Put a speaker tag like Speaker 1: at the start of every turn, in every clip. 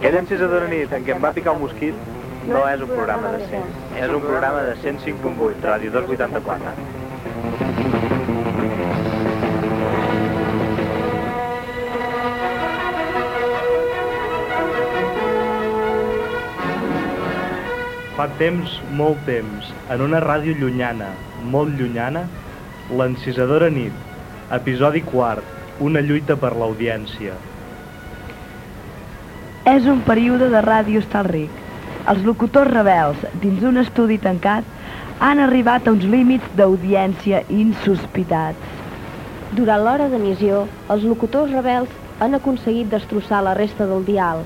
Speaker 1: Que llencis adormit en què em va picar un mosquit no és un programa de 100. És un programa de 105.8, Ràdio 284.
Speaker 2: Fa temps, molt temps, en una ràdio llunyana, molt llunyana, l'encisadora nit, episodi quart, una lluita per l'audiència.
Speaker 3: És un període de ràdio Estalric. Els locutors rebels, dins d'un estudi tancat, han arribat a uns límits d'audiència insospitats.
Speaker 4: Durant l'hora d'emissió, els locutors rebels han aconseguit destrossar la resta del dial,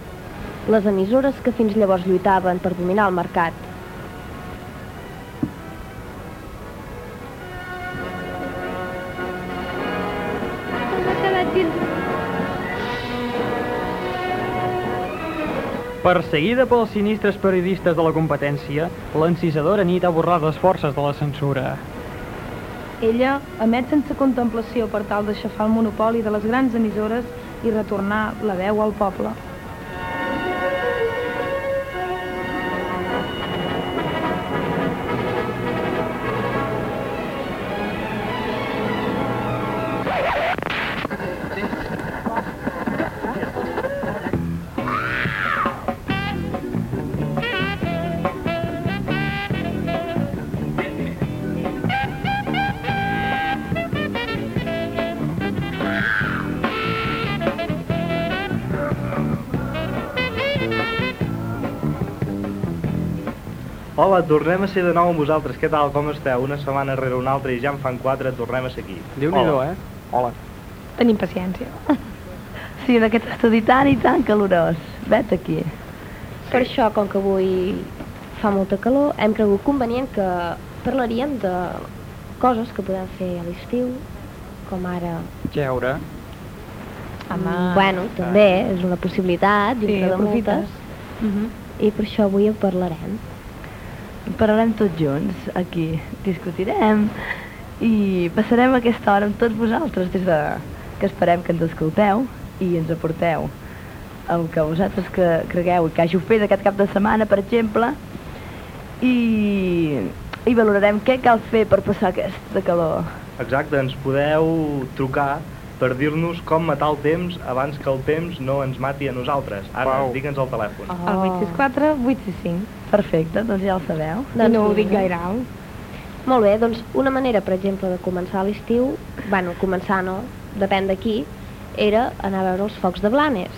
Speaker 4: les emissores que fins llavors lluitaven per dominar el mercat.
Speaker 5: Perseguida pels sinistres periodistes de la competència, l'encisadora nit ha borrat les forces de la censura.
Speaker 6: Ella emet sense contemplació per tal d'aixafar el monopoli de les grans emissores i retornar la veu al poble.
Speaker 2: Hola, tornem a ser de nou amb vosaltres. Què tal, com esteu? Una setmana rere una altra i ja en fan quatre, tornem a ser aquí.
Speaker 5: Déu-n'hi-do,
Speaker 2: Hola.
Speaker 5: eh? Hola.
Speaker 6: Tenim paciència.
Speaker 3: Sí, en aquest estudi tan i tan calorós. Vet aquí.
Speaker 4: Per això, com que avui fa molta calor, hem cregut convenient que parlaríem de coses que podem fer a l'estiu, com ara...
Speaker 5: Jeure.
Speaker 4: Mm, Bueno, també és una possibilitat,
Speaker 6: Sí,
Speaker 4: dintre de
Speaker 6: Eh, aprofites.
Speaker 4: moltes,
Speaker 6: Mhm.
Speaker 4: i per això avui en parlarem.
Speaker 3: Parlarem tots junts, aquí. Discutirem i passarem aquesta hora amb tots vosaltres des de que esperem que ens escolteu i ens aporteu el que vosaltres que cregueu i que hàgiu fet aquest cap de setmana, per exemple, i, i valorarem què cal fer per passar aquesta calor.
Speaker 2: Exacte, ens podeu trucar per dir-nos com matar el temps abans que el temps no ens mati a nosaltres. Ara,
Speaker 5: Uau.
Speaker 2: digue'ns el telèfon.
Speaker 4: Ah.
Speaker 3: Oh.
Speaker 6: El 864, 865.
Speaker 3: Perfecte, doncs ja el sabeu.
Speaker 6: Doncs no ho
Speaker 4: mira.
Speaker 6: dic gaire alt.
Speaker 4: Molt bé, doncs una manera, per exemple, de començar l'estiu, bueno, començar no, depèn de qui, era anar a veure els focs de Blanes.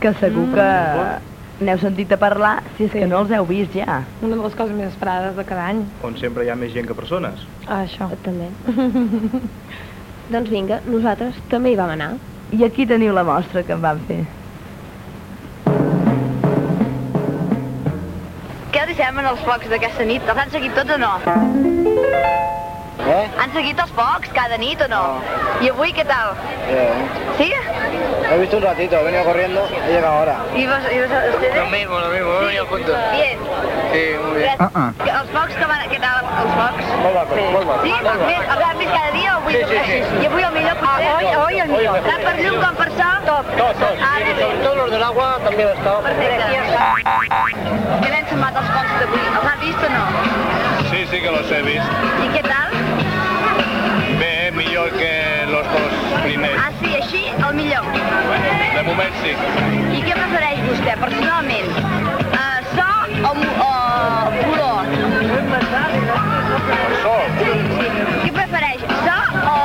Speaker 3: Que segur mm. que n'heu sentit a parlar si és
Speaker 6: Sí.
Speaker 3: que no els heu vist ja.
Speaker 6: Una de les coses més esperades de cada any.
Speaker 2: On sempre hi ha més gent que persones.
Speaker 6: Ah, això.
Speaker 4: També. doncs vinga, nosaltres també hi vam anar.
Speaker 3: I aquí teniu la mostra que em van fer.
Speaker 7: Què us semblen els focs d'aquesta nit? Els han seguit tots o no?
Speaker 8: Eh?
Speaker 7: Han seguit els focs cada nit o no? I avui què tal?
Speaker 8: Bien.
Speaker 7: Sí?
Speaker 8: Lo he visto un ratito, he venido corriendo, he llegado ahora.
Speaker 7: I vos, i vos ustedes?
Speaker 8: mismo, lo mismo, he venido juntos.
Speaker 7: Bien.
Speaker 8: Sí, muy
Speaker 7: Gràcies. Que Els focs que van... Què tal, els focs?
Speaker 8: Molt maco, molt maco.
Speaker 7: Sí?
Speaker 8: molt
Speaker 7: Els, més, els han vist cada dia o avui?
Speaker 8: Sí, sí, sí, sí.
Speaker 7: I avui el millor potser?
Speaker 8: Ah, hoy- hoy el millor.
Speaker 7: Tant per llum com per so? Top.
Speaker 8: Todos, todos.
Speaker 7: Ah,
Speaker 8: Sí,
Speaker 7: que
Speaker 8: sobre
Speaker 7: bé.
Speaker 8: todo los del agua también han estado.
Speaker 7: Perfecte. Què n'han semblat els focs d'avui? Els han vist o no?
Speaker 9: Sí, sí que los he visto.
Speaker 7: I què tal?
Speaker 9: Bé,
Speaker 8: eh,
Speaker 9: millor que los dos primers.
Speaker 7: Ah, sí, així, el millor.
Speaker 9: De moment sí.
Speaker 7: I què prefereix vostè, personalment? Uh, so o, mu- o color?
Speaker 9: Sol,
Speaker 7: Sí, sí. Què prefereix, so o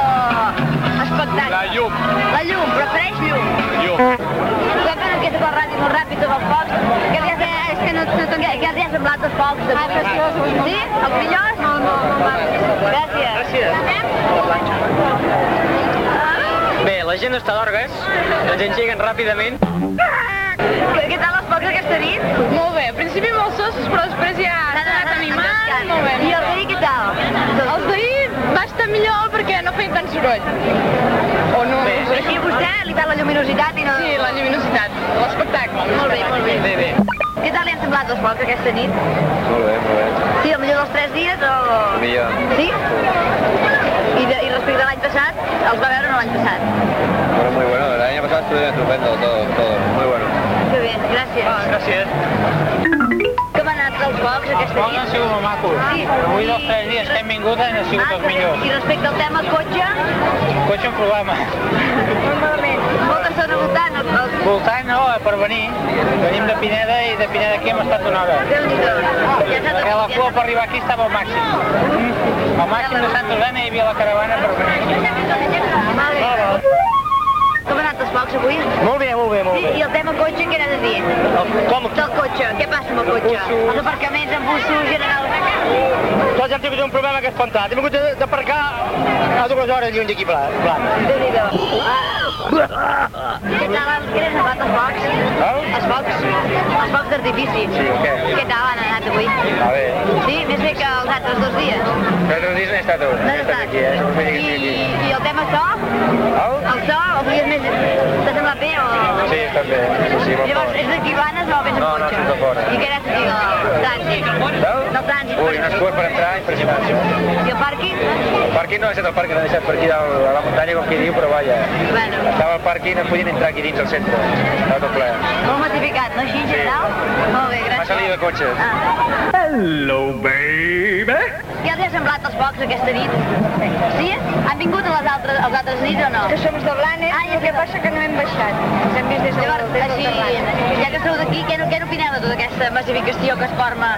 Speaker 7: espectacle?
Speaker 9: la llum,
Speaker 7: La llum, prefereix llum.
Speaker 9: llum.
Speaker 7: Quan fan aquestes coses ràpid, molt ràpid, amb els focs, que els hi ha, és que no, no, no, que els hi ha semblat els focs
Speaker 4: Ah,
Speaker 7: de avui? Sí? Els millors? No, no, no. Gràcies. Gràcies.
Speaker 5: Bé, la gent està
Speaker 8: eh?
Speaker 5: d'orgues, ens engeguen ràpidament.
Speaker 7: Què tal els focs aquesta nit?
Speaker 6: Molt bé, al principi molt sosos, però després ja s'ha anat animant, molt bé. Doncs
Speaker 7: I els d'ahir què tal? Doncs
Speaker 6: Els d'ahir va estar millor perquè no feien tant soroll. O no, no ho sé.
Speaker 7: I a vostè li va la lluminositat i no...
Speaker 6: Sí, la lluminositat, l'espectacle.
Speaker 7: Molt bé, molt bé.
Speaker 5: Bé, bé.
Speaker 7: Què tal li han semblat els focs aquesta nit?
Speaker 8: Muy bien, muy bien.
Speaker 7: Sí, el millor dels tres dies o...
Speaker 8: Millor.
Speaker 7: Sí? I, de, i respecte a l'any passat, els va veure no l'any passat?
Speaker 8: Bueno, muy bueno. El año pasado estuvieron estupendo todos, todos. Muy bueno.
Speaker 7: Que bé, gràcies.
Speaker 9: millor.
Speaker 7: Ah, I respecte al tema cotxe,
Speaker 9: Cotxe un problema.
Speaker 7: molt malament. Molta estona voltant. el- el-
Speaker 9: Voltant no, eh, per venir. Venim de Pineda i de Pineda aquí hem estat una hora.
Speaker 7: Déu-n'hi-do. Ja s'ha
Speaker 9: Perquè la
Speaker 7: de...
Speaker 9: cua per arribar aquí estava al màxim. Al màxim de Santa Eugènia hi havia la caravana per venir aquí.
Speaker 7: Vale. Com ha anat els focs avui?
Speaker 9: Molt bé, molt bé, molt
Speaker 7: Sí,
Speaker 9: bé.
Speaker 7: i el tema cotxe què n'ha de dir?
Speaker 9: Com?
Speaker 7: Del cotxe, què passa amb el cotxe? Els aparcaments amb busos generalment.
Speaker 9: Tots hem tingut un problema que és plantat. Hem hagut de- d'aparcar a dues hores lluny d'aquí pla- plat.
Speaker 7: Déu-n'hi-do. Ah. Què tal han què han anat els focs? Els focs? Els focs d'artifici.
Speaker 9: Sí, què?
Speaker 7: Què tal han anat avui?
Speaker 9: A veure,
Speaker 7: Sí, més bé que els altres dos dies.
Speaker 9: nosaltres dies n'he estat un.
Speaker 7: No has estat.
Speaker 9: ¿eh?
Speaker 7: I, I el tema so? El so? El volies més... T'ha semblat bé o...?
Speaker 9: Sí, estan bé. Sí, sí, molt
Speaker 7: Llavors,
Speaker 9: fort.
Speaker 7: és d'aquí Blanes o vens amb
Speaker 9: No, no,
Speaker 7: cotxe?
Speaker 9: sóc de fora.
Speaker 7: I què has de dir del trànsit? Del trànsit.
Speaker 9: Ui, unes cues per entrar, impressionants.
Speaker 7: I el pàrquing?
Speaker 9: El pàrquing no ha estat el pàrquing, l'han deixat per aquí dalt, a la muntanya, com qui diu, però vaja.
Speaker 7: Bueno,
Speaker 9: Estava al pàrquing i no podien entrar aquí dins al centre. Estava tot ple.
Speaker 7: molt massificat, no així en general? Molt bé,
Speaker 9: Va salir
Speaker 7: gràcies.
Speaker 9: de cotxes.
Speaker 7: Ah.
Speaker 9: Hello, baby!
Speaker 7: Què els ha semblat els focs aquesta nit? Sí? Han vingut a les altres, als altres nits o no? Que som de Blanes, ah, ja el que passa que no hem baixat. Ens hem vist des de Llavors, així, ja que sou d'aquí, què, no- què n'opineu de tota aquesta massificació que es forma?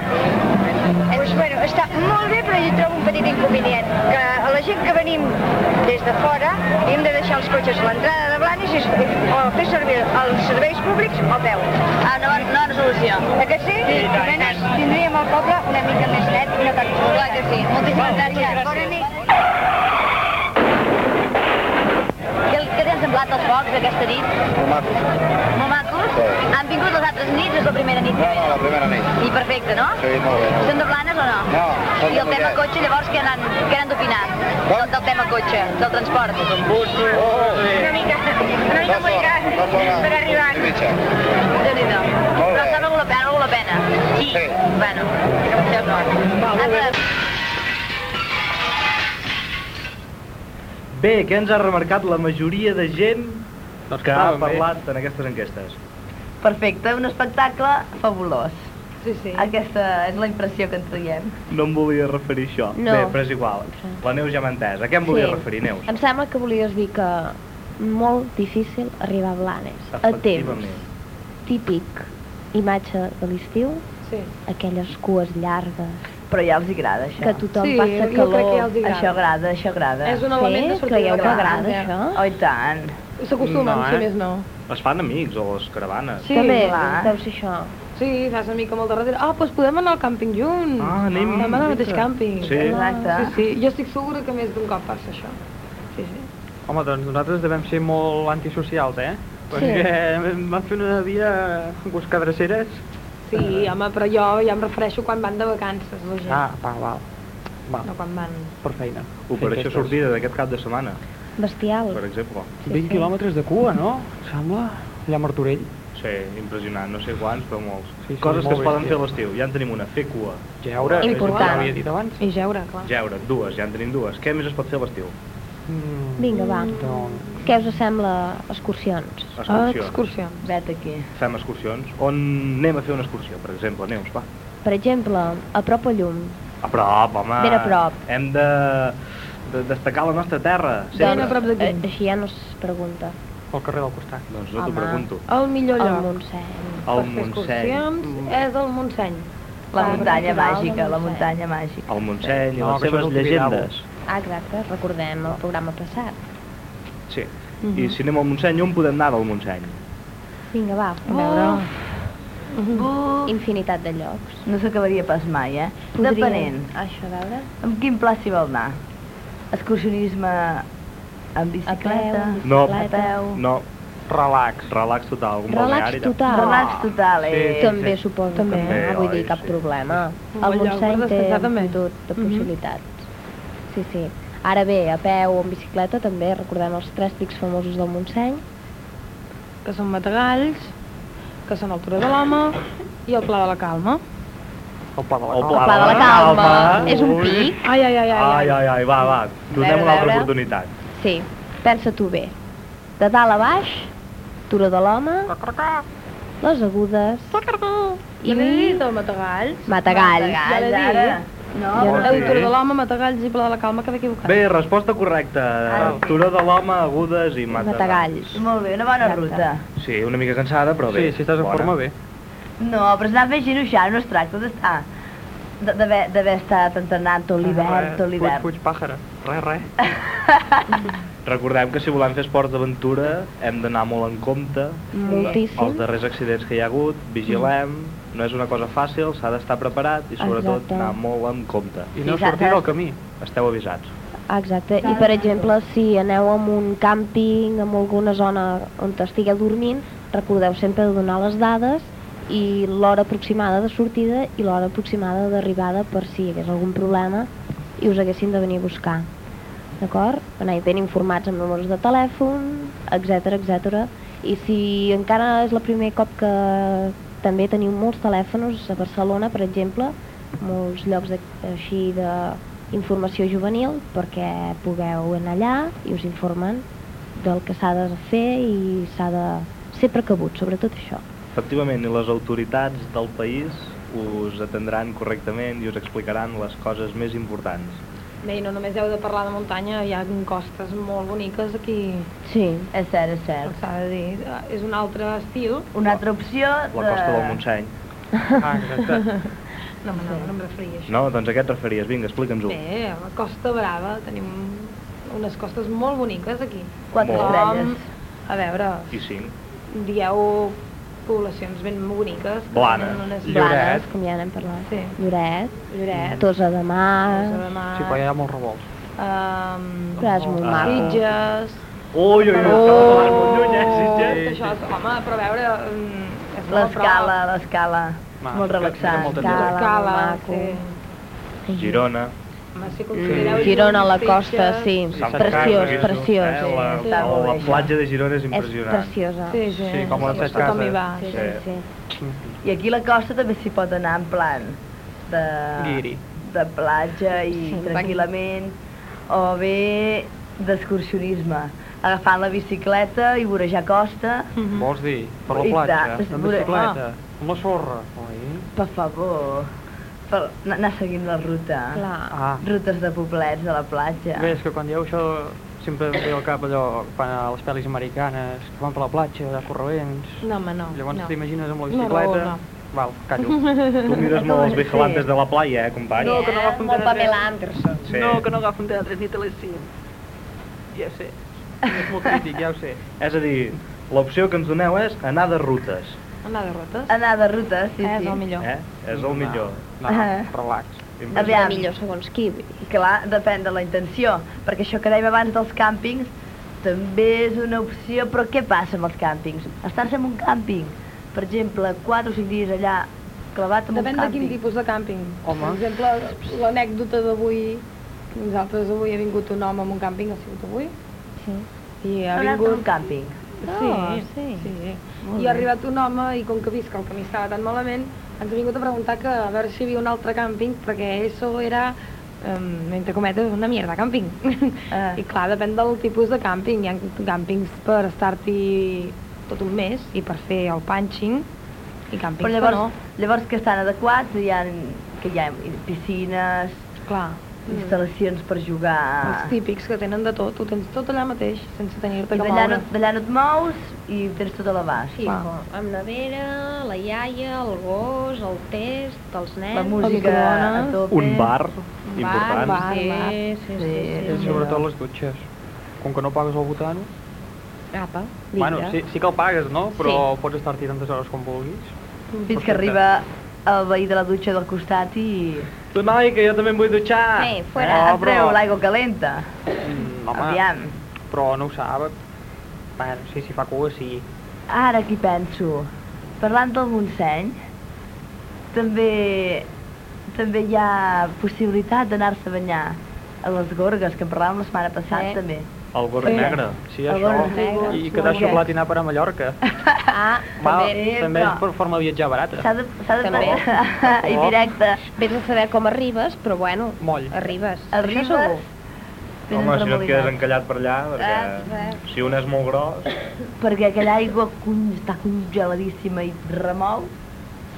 Speaker 7: Pues, Doncs, bueno, està molt bé, però jo trobo un petit inconvenient, que a la gent que venim des de fora hem de deixar els cotxes a l'entrada de Blanes i, o fer servir els serveis públics o peu. Ah, no, no hi ha solució. que sí? sí almenys tindríem el poble una mica més net i no tan... Clar que sí. Moltíssimes gràcies. Bona nit. Què, què t'han semblat els focs aquesta nit?
Speaker 8: Molt maco.
Speaker 7: Molt macos? Han vingut les altres nits o és la primera nit?
Speaker 8: No, no, la primera nit.
Speaker 7: I perfecte, no?
Speaker 8: Sí, molt bé.
Speaker 7: Són de planes o no?
Speaker 8: No, són
Speaker 7: I
Speaker 8: de
Speaker 7: el tema
Speaker 8: Mollet.
Speaker 7: cotxe, llavors, què n'han què n'han d'opinar? Del, del tema cotxe, del transport.
Speaker 9: Oh,
Speaker 7: Una mica, una mica molt gran per arribar. Déu-n'hi-do.
Speaker 8: Molt
Speaker 7: Però
Speaker 8: bé.
Speaker 7: està valgut la pena, valgut la pena. Sí. Bueno, d'acord. Altres-
Speaker 2: Bé, què ens ha remarcat la majoria de gent
Speaker 5: Doncs
Speaker 2: que ha
Speaker 5: estaven bé.
Speaker 2: parlat en aquestes enquestes?
Speaker 3: Perfecte, un espectacle fabulós.
Speaker 6: Sí, sí.
Speaker 3: Aquesta és la impressió que en traiem.
Speaker 2: No em volia referir a això.
Speaker 4: No.
Speaker 2: Bé, però és igual. La Neus ja m'ha entès. A què em volia referir, Neus?
Speaker 4: Em sembla que volies dir que molt difícil arribar a Blanes. A temps.
Speaker 2: Efectivament.
Speaker 4: Típic imatge de l'estiu,
Speaker 6: Sí.
Speaker 4: aquelles cues llargues,
Speaker 3: Però ja els hi agrada, això.
Speaker 4: que tothom
Speaker 6: Sí,
Speaker 4: passa
Speaker 6: jo
Speaker 4: calor.
Speaker 6: crec que ja els hi agrada.
Speaker 3: Això agrada, això agrada.
Speaker 6: És un element de
Speaker 4: Sí?
Speaker 6: sortida
Speaker 4: Creieu
Speaker 6: de
Speaker 4: que
Speaker 6: casa,
Speaker 4: agrada,
Speaker 6: eh?
Speaker 4: això?
Speaker 3: Oh, i tant.
Speaker 6: S'acostumen,
Speaker 5: No,
Speaker 6: si
Speaker 5: eh?
Speaker 6: més no.
Speaker 2: Es fan amics a les caravanes.
Speaker 6: Sí,
Speaker 4: També
Speaker 3: clar.
Speaker 4: deu ser això.
Speaker 6: Sí, fas amic amb el de darrere. Ah, doncs podem anar al càmping junts.
Speaker 2: Ah, anem.
Speaker 6: Vam anar al mateix càmping.
Speaker 2: Sí.
Speaker 3: Exacte.
Speaker 6: Sí, sí. Jo estic segura que més d'un cop passa això. Sí, sí.
Speaker 5: Home, doncs nosaltres devem ser molt antisocials, eh? Perquè vam fer una dia a buscar dreceres.
Speaker 6: Sí, home, però jo ja em refereixo quan van de vacances, la gent.
Speaker 5: Ah, va, val. Va,
Speaker 6: No quan van...
Speaker 5: per feina.
Speaker 2: Operació sortida d'aquest cap de setmana,
Speaker 4: Bestial.
Speaker 2: per exemple.
Speaker 5: 20 quilòmetres de cua, no? Sembla allà a Martorell.
Speaker 2: Sí, impressionant, no sé quants, però molts.
Speaker 5: Sí, sí,
Speaker 2: Coses que
Speaker 5: molt
Speaker 2: es poden
Speaker 5: bèstia.
Speaker 2: fer a l'estiu, ja en tenim una, fer cua.
Speaker 5: Geure,
Speaker 6: Important.
Speaker 5: ho havia dit abans.
Speaker 6: I jeure, clar.
Speaker 2: Geure, dues, ja en tenim dues. Què més es pot fer a l'estiu?
Speaker 5: Mm,
Speaker 4: Vinga, va.
Speaker 5: doncs,
Speaker 4: Què us sembla excursions?
Speaker 6: Ah,
Speaker 2: Excursions.
Speaker 6: excursions.
Speaker 3: Vet aquí.
Speaker 2: Fem excursions. On anem a fer una excursió, per exemple? Neus, va.
Speaker 4: Per exemple, a prop a llum.
Speaker 2: A prop, home.
Speaker 4: Ben a prop.
Speaker 2: Hem de, de destacar la nostra terra.
Speaker 6: Ben
Speaker 2: sempre.
Speaker 6: a prop d'aquí.
Speaker 4: Eh, així ja no es pregunta.
Speaker 5: al carrer del costat.
Speaker 2: Doncs no t'ho
Speaker 4: Home.
Speaker 2: pregunto.
Speaker 6: El millor
Speaker 4: Al
Speaker 6: lloc
Speaker 4: Montseny.
Speaker 2: El
Speaker 6: per fer
Speaker 2: Montseny.
Speaker 6: excursions és el Montseny.
Speaker 3: La
Speaker 4: Ah,
Speaker 3: muntanya
Speaker 4: natural,
Speaker 3: màgica,
Speaker 4: no
Speaker 3: la
Speaker 4: sé.
Speaker 3: muntanya màgica.
Speaker 2: El Montseny i
Speaker 5: No,
Speaker 2: les
Speaker 5: que això és
Speaker 2: seves
Speaker 5: el Tibidabo.
Speaker 2: llegendes.
Speaker 4: Ah, exacte, recordem el programa passat.
Speaker 2: Sí. I si anem al Montseny, on podem anar del Montseny?
Speaker 4: Vinga, va, a veure. Mm-hmm. Infinitat de llocs.
Speaker 3: No s'acabaria pas mai, eh?
Speaker 4: Podríem-
Speaker 3: Depenent.
Speaker 4: Això, a veure.
Speaker 3: Amb quin pla s'hi vol anar? Excursionisme amb
Speaker 4: A peu,
Speaker 3: bicicleta?
Speaker 2: No.
Speaker 3: A
Speaker 4: bicicleta.
Speaker 3: peu?
Speaker 2: No,
Speaker 5: Relax.
Speaker 2: relax total. Un
Speaker 4: Relax
Speaker 2: balneari, allà.
Speaker 4: total.
Speaker 3: Relax total,
Speaker 2: Sí.
Speaker 3: eh?
Speaker 4: També suposo
Speaker 6: També,
Speaker 4: que no, vull
Speaker 2: oi,
Speaker 4: dir, cap
Speaker 2: sí.
Speaker 4: problema.
Speaker 6: Un
Speaker 4: El
Speaker 6: bon lloc per
Speaker 4: Montseny té
Speaker 6: descansar, també.
Speaker 4: multitud de
Speaker 6: Mhm.
Speaker 4: possibilitats. Sí, sí. Ara bé, a peu o en bicicleta també recordem els tres pics famosos del Montseny.
Speaker 6: Que són Matagalls, que són el Turó de l'Home i el Pla de la Calma.
Speaker 5: El pla de la
Speaker 2: El
Speaker 5: Calma.
Speaker 2: Pla
Speaker 4: Pla de la Calma. És un
Speaker 2: Ui.
Speaker 4: pic.
Speaker 6: Ai, ai, ai, ai.
Speaker 2: Ai, ai, ai, va, va. Donem una altra
Speaker 4: veure.
Speaker 2: oportunitat.
Speaker 4: Sí, pensa tu bé. De dalt a baix, Turó de l'Home, les Agudes
Speaker 6: I... Ja l'he
Speaker 4: i
Speaker 6: dit, el Matagalls.
Speaker 4: Matagalls.
Speaker 3: Matagalls,
Speaker 6: Ja l'he
Speaker 3: ara.
Speaker 6: dit. No,
Speaker 2: Oh, sí?
Speaker 6: Autor de l'home, Matagalls i Pla de la Calma, que equivocat.
Speaker 2: Bé, resposta correcta.
Speaker 4: Ah,
Speaker 2: Turó de l'home, agudes i mata.
Speaker 3: Molt bé, una bona ruta.
Speaker 2: Sí, una mica cansada, però bé.
Speaker 5: Sí, si estàs en
Speaker 2: bona.
Speaker 5: forma, bé.
Speaker 3: No, però s'anà fent xinoxar, no es tracta d'estar... de- d'haver d'haver estat entrenant tot
Speaker 5: Ah,
Speaker 3: l'hivern, tot l'hivern.
Speaker 5: Fuig, fuig, pàjara. Res, res.
Speaker 2: Recordem que si volem fer esports d'aventura hem d'anar molt en compte.
Speaker 4: Moltíssim.
Speaker 2: Els darrers accidents que hi ha hagut, vigilem, no és una cosa fàcil, s'ha d'estar preparat i sobretot
Speaker 4: Mm. Exacte.
Speaker 2: anar molt en compte.
Speaker 5: I
Speaker 3: Sí,
Speaker 5: no
Speaker 3: s'ha-
Speaker 5: sortir
Speaker 3: s'ha-
Speaker 5: del camí.
Speaker 2: Esteu avisats.
Speaker 4: Ah, Exacte, i per exemple, si aneu a un càmping, en alguna zona on estigueu dormint, recordeu sempre de donar les dades i l'hora aproximada de sortida i l'hora aproximada d'arribada per si hi hagués algun problema i us haguessin de venir a buscar. D'acord? Anar ben informats amb números de telèfon, etc etc. I si encara és el primer cop que també teniu molts telèfons a Barcelona, per exemple, molts llocs de, així d'informació juvenil perquè pugueu anar allà i us informen del que s'ha de fer i s'ha de ser precabut, sobretot això.
Speaker 2: Efectivament, i les autoritats del país us atendran correctament i us explicaran les coses més importants.
Speaker 6: Bé, i no només heu de parlar de muntanya, hi ha costes molt boniques aquí,
Speaker 4: Sí,
Speaker 3: És cert, és cert.
Speaker 6: s'ha de dir. És un altre estil.
Speaker 3: Una altra opció de...
Speaker 2: La costa del Montseny.
Speaker 5: Ah, exacte.
Speaker 6: No, no, no em referia a això.
Speaker 2: No? Doncs a què et referies? Vinga, explica'ns-ho.
Speaker 6: Bé, a la Costa Brava tenim unes costes molt boniques aquí.
Speaker 3: Quatre
Speaker 2: Molt.
Speaker 3: estrelles.
Speaker 6: A veure,
Speaker 2: I cinc.
Speaker 6: dieu poblacions ben boniques. que
Speaker 2: Blanes.
Speaker 6: tenen unes
Speaker 5: Lloret.
Speaker 6: Blanes.
Speaker 4: com ja n'hem parlat.
Speaker 6: Sí.
Speaker 4: Lloret,
Speaker 6: Lloret.
Speaker 4: Tosa de Mar,
Speaker 6: Rosa de Mar.
Speaker 5: Sí, però hi ha molts revolts.
Speaker 6: Um,
Speaker 4: però és molt
Speaker 2: Ah.
Speaker 4: maco.
Speaker 6: Sitges...
Speaker 2: Ui, ui, ui, oh! lluny, eh, Sitges?
Speaker 6: Tot això, home, però a veure... mm, és molt a prop.
Speaker 3: L'escala, l'escala.
Speaker 5: Ma,
Speaker 3: Molt
Speaker 5: era- era
Speaker 3: relaxant.
Speaker 5: molta
Speaker 3: Cal-
Speaker 5: llum.
Speaker 6: L'escala,
Speaker 4: molt maco.
Speaker 6: sí.
Speaker 2: Girona.
Speaker 6: Home, si
Speaker 4: Mm,
Speaker 6: considereu
Speaker 4: Girona a la
Speaker 6: Sitges,
Speaker 4: costa,
Speaker 6: Ah,
Speaker 4: sí.
Speaker 5: Sí,
Speaker 2: Sant
Speaker 4: Preciós,
Speaker 2: Carles,
Speaker 4: preciós.
Speaker 2: Eh? La,
Speaker 3: sí,
Speaker 2: la,
Speaker 3: molt
Speaker 2: la
Speaker 3: bé,
Speaker 2: platja de Girona és
Speaker 4: És
Speaker 2: impressionant.
Speaker 4: preciosa.
Speaker 6: Sí, sí.
Speaker 5: Sí, com les set
Speaker 6: Tothom
Speaker 5: cases.
Speaker 6: hi va.
Speaker 4: Sí, sí,
Speaker 2: Sí.
Speaker 4: sí.
Speaker 3: I aquí a la costa també s'hi pot anar en plan de...
Speaker 5: Guiri.
Speaker 3: De platja i
Speaker 4: Sí,
Speaker 3: tranquil·lament. O bé d'excursionisme. Agafant la bicicleta i vorejar costa.
Speaker 5: Mm-hmm. Vols dir? Per la
Speaker 3: I
Speaker 5: platja,
Speaker 3: tant, és
Speaker 5: amb
Speaker 3: dura-
Speaker 5: bicicleta, amb la sorra, oi?
Speaker 3: Per favor. Per anar- anar seguint la ruta.
Speaker 4: Clar.
Speaker 5: Ah,
Speaker 3: Rutes de poblets a la platja.
Speaker 5: bé, és que quan dieu això sempre em ve al cap allò que fan a les pel·lis americanes, que van per la platja, a corrents...
Speaker 6: No, home, no.
Speaker 5: Llavors
Speaker 6: no.
Speaker 5: t'imagines amb la
Speaker 6: No,
Speaker 5: bicicleta...
Speaker 6: no, no.
Speaker 5: Val, callo.
Speaker 2: Tu mires molt els vigilantes de la playa, eh, company?
Speaker 5: No, que no agafo un
Speaker 4: Molt
Speaker 5: teatre.
Speaker 4: Pamela Anderson.
Speaker 2: Sí.
Speaker 5: No, que no agafo un teatre ni Telecinc. Ja ho sé. És molt crític, ja ho sé.
Speaker 2: És a dir, l'opció que ens doneu és anar de rutes.
Speaker 6: Anar de rutes.
Speaker 3: Anar de ruta, sí,
Speaker 6: és
Speaker 3: sí.
Speaker 6: el millor.
Speaker 2: Eh? És el millor.
Speaker 5: No,
Speaker 3: Ah.
Speaker 5: relax.
Speaker 4: És la
Speaker 3: Aviam.
Speaker 4: millor segons qui. vull dir.
Speaker 3: Clar, depèn de la intenció, perquè això que dèiem abans dels càmpings també és una opció, però què passa amb els càmpings? Estar-se en un càmping, per exemple, 4 o 5 dies allà clavat en
Speaker 6: Depèn
Speaker 3: un
Speaker 6: de
Speaker 3: càmping.
Speaker 6: quin tipus de càmping.
Speaker 5: Home.
Speaker 6: Per exemple, l'anècdota d'avui, nosaltres avui ha vingut un home amb un càmping, ha sigut avui,
Speaker 4: Sí.
Speaker 6: i
Speaker 3: Ha
Speaker 6: ha
Speaker 3: vingut...
Speaker 6: vingut...
Speaker 3: un càmping.
Speaker 4: Ah,
Speaker 6: Sí,
Speaker 4: sí.
Speaker 6: sí.
Speaker 3: Molt
Speaker 6: I ha
Speaker 3: bé.
Speaker 6: arribat un home i com que ha vist que el camí estava tan malament, ens ha vingut a preguntar que a veure si hi havia un altre càmping, perquè eso era, um, entre cometes, una mierda càmping.
Speaker 3: Ah.
Speaker 6: I clar, depèn del tipus de càmping. Hi ha càmpings per estar-t'hi tot un mes i per fer el punching, i càmpings
Speaker 3: Però llavors,
Speaker 6: que
Speaker 3: llavors que estan adequats, hi ha, que hi ha piscines,
Speaker 6: no. Clar,
Speaker 3: instal·lacions per
Speaker 6: els
Speaker 3: jugar...
Speaker 6: típics que tenen de tot, ho tens tot allà mateix, sense tenir-te
Speaker 3: I
Speaker 6: que
Speaker 3: d'allà
Speaker 6: moure.
Speaker 3: no, d'allà no et mous i ho tens tot a l'abast.
Speaker 4: Sí,
Speaker 6: Clar.
Speaker 4: com amb nevera, la iaia, el gos, el test, els nens...
Speaker 3: La música a
Speaker 6: microones.
Speaker 3: tope.
Speaker 2: Un bar,
Speaker 4: Un
Speaker 2: important.
Speaker 6: bar.
Speaker 4: sí, sí, sí,
Speaker 3: Sí,
Speaker 4: sí.
Speaker 5: I sobretot les dutxes. Com que no pagues el botano...
Speaker 4: Apa, vinga.
Speaker 5: Bueno, sí, sí que el pagues, no? Però pots estar-t'hi tantes hores com vulguis.
Speaker 3: Fins que arriba el veí de la dutxa del costat i...
Speaker 2: Tu, noi, que jo també em vull dutxar.
Speaker 4: Sí,
Speaker 3: Fuera,
Speaker 5: No,
Speaker 3: no,
Speaker 5: Eh, però-
Speaker 3: treu l'aigua calenta.
Speaker 5: Mm, home,
Speaker 3: Aviam.
Speaker 5: però no ho sap. Bueno, sí, si fa cua, sí.
Speaker 3: Ara aquí penso, parlant del Montseny, també, també hi ha possibilitat d'anar-se a banyar a les gorgues, que en parlàvem la setmana passada,
Speaker 4: Sí.
Speaker 3: també.
Speaker 2: El gorg negre.
Speaker 5: Sí,
Speaker 3: El
Speaker 5: això.
Speaker 3: gorg negre,
Speaker 5: I quedar
Speaker 3: molt bé.
Speaker 5: xoplat i anar a parar a Mallorca.
Speaker 4: Ah,
Speaker 5: Va,
Speaker 3: també,
Speaker 5: també és
Speaker 3: però-
Speaker 5: per forma de viatjar barata.
Speaker 3: S'ha de, s'ha de
Speaker 4: També.
Speaker 3: I directe.
Speaker 4: vés a saber com arribes, però bueno,
Speaker 5: Moll.
Speaker 4: arribes.
Speaker 3: Arribes,
Speaker 4: Això segur.
Speaker 3: tens
Speaker 2: Home, si no et
Speaker 3: remolina.
Speaker 2: quedes encallat per allà, perquè
Speaker 4: Ah,
Speaker 2: si un és molt gros...
Speaker 3: Perquè aquella aigua cony, està congeladíssima i remou,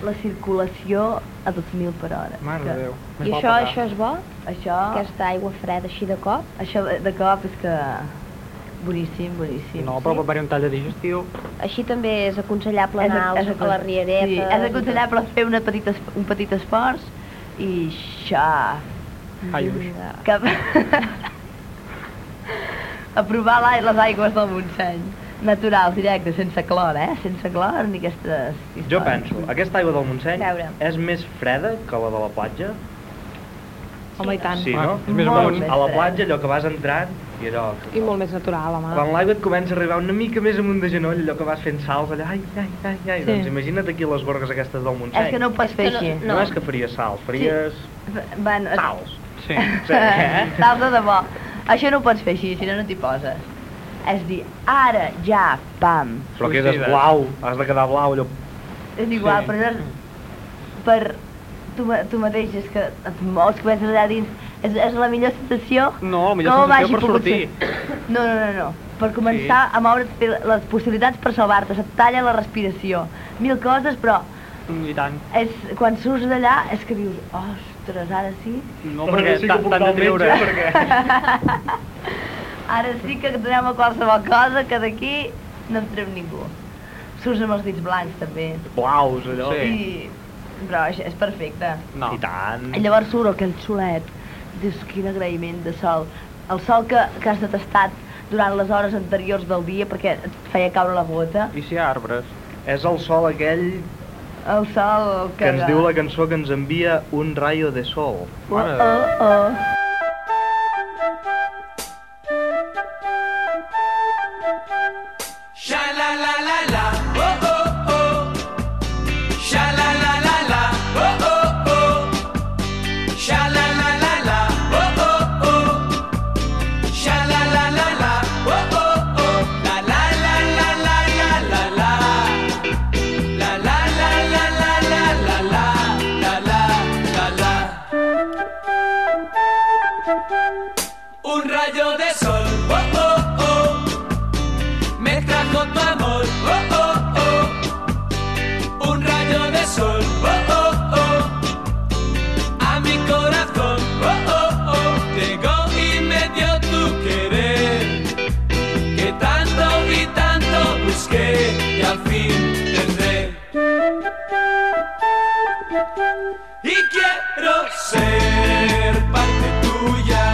Speaker 3: la circulació a 2.000 per hora.
Speaker 5: Mare de Déu, més
Speaker 4: I
Speaker 5: val
Speaker 4: això,
Speaker 5: pagar.
Speaker 4: això és
Speaker 2: Ah.
Speaker 4: bo?
Speaker 3: Això,
Speaker 4: Aquesta aigua freda així de cop?
Speaker 3: això de cop és que boníssim, boníssim.
Speaker 5: No, però prepararé un tall de digestiu.
Speaker 4: Així també és aconsellable anar als- a la riereta.
Speaker 3: Sí, és aconsellable fer una petita, es- un petit esforç i xa,
Speaker 5: Ai, uix.
Speaker 3: cap... a provar l'ai- les aigües del Montseny. Naturals, directes, sense clor, eh? Sense clor ni aquestes històries.
Speaker 2: Jo penso, aquesta aigua del Montseny
Speaker 3: Veure.
Speaker 2: és més freda que la de la platja?
Speaker 6: Home, i tant.
Speaker 2: Sí,
Speaker 5: Ah,
Speaker 2: no?
Speaker 5: és més
Speaker 2: Doncs
Speaker 5: amunt.
Speaker 2: A la
Speaker 3: Més
Speaker 2: platja allò que vas entrant i allò... que-
Speaker 6: I molt ah. més natural, home.
Speaker 2: Quan l'aigua et comença a arribar una mica més amunt de genoll, allò que vas fent salts, allò, ai, ai, ai, ai,
Speaker 6: Sí.
Speaker 2: doncs imagina't aquí les borgues aquestes del Montseny.
Speaker 3: És que no ho pots
Speaker 4: És
Speaker 3: fer
Speaker 4: que no-
Speaker 3: així.
Speaker 2: No, és que faries salts, faries
Speaker 3: Bueno, es-
Speaker 2: salts.
Speaker 5: Sí.
Speaker 2: Sí, eh?
Speaker 3: Tal de debò. Això no ho pots fer així, si no, no t'hi poses. És dir, ara, ja, pam.
Speaker 2: Però que és
Speaker 5: Suïcides.
Speaker 2: blau, has de quedar blau, allò...
Speaker 3: És igual,
Speaker 5: Sí.
Speaker 3: però no és... Per tu, ma- tu mateix, és que et mous, que penses allà dins. És, és la millor sensació...
Speaker 5: No, la millor
Speaker 3: com
Speaker 5: sensació
Speaker 3: hagi
Speaker 5: per
Speaker 3: pogut
Speaker 5: sortir.
Speaker 3: Ser. No, no, no, no. Per començar a moure't, fer les possibilitats per salvar-te, se't talla la respiració. Mil coses, però
Speaker 5: Mm, I tant.
Speaker 3: és, quan surts d'allà és que dius, ostres, ara sí,
Speaker 5: No, perquè
Speaker 2: sí que
Speaker 5: t'han
Speaker 2: puc
Speaker 5: t'han
Speaker 2: anar
Speaker 5: de
Speaker 2: al metge,
Speaker 5: treure.
Speaker 3: Ara sí que donem a qualsevol cosa que d'aquí no en treu ningú. Surts amb els dits blancs, també.
Speaker 2: Blaus, allò...
Speaker 5: Sí.
Speaker 3: I... Però això és perfecte.
Speaker 5: No.
Speaker 2: I tant.
Speaker 3: I Llavors surt aquell solet. Dius, quin agraïment de sol. El sol que, que has detestat durant les hores anteriors del dia perquè et feia caure la gota.
Speaker 5: I si hi ha arbres?
Speaker 2: És el sol aquell
Speaker 3: El sol que...
Speaker 2: que ens diu la cançó que ens envia un rayo de sol.
Speaker 3: Oh,
Speaker 5: Mare de Déu.
Speaker 3: oh, oh.
Speaker 10: Un rayo de sol, oh oh oh, me trajo tu amor, oh oh oh. Un rayo de sol, oh oh oh, a mi corazón, oh oh oh. Llegó y me dio tu querer, que tanto y tanto busqué y al fin tendré. y quiero ser parte tuya.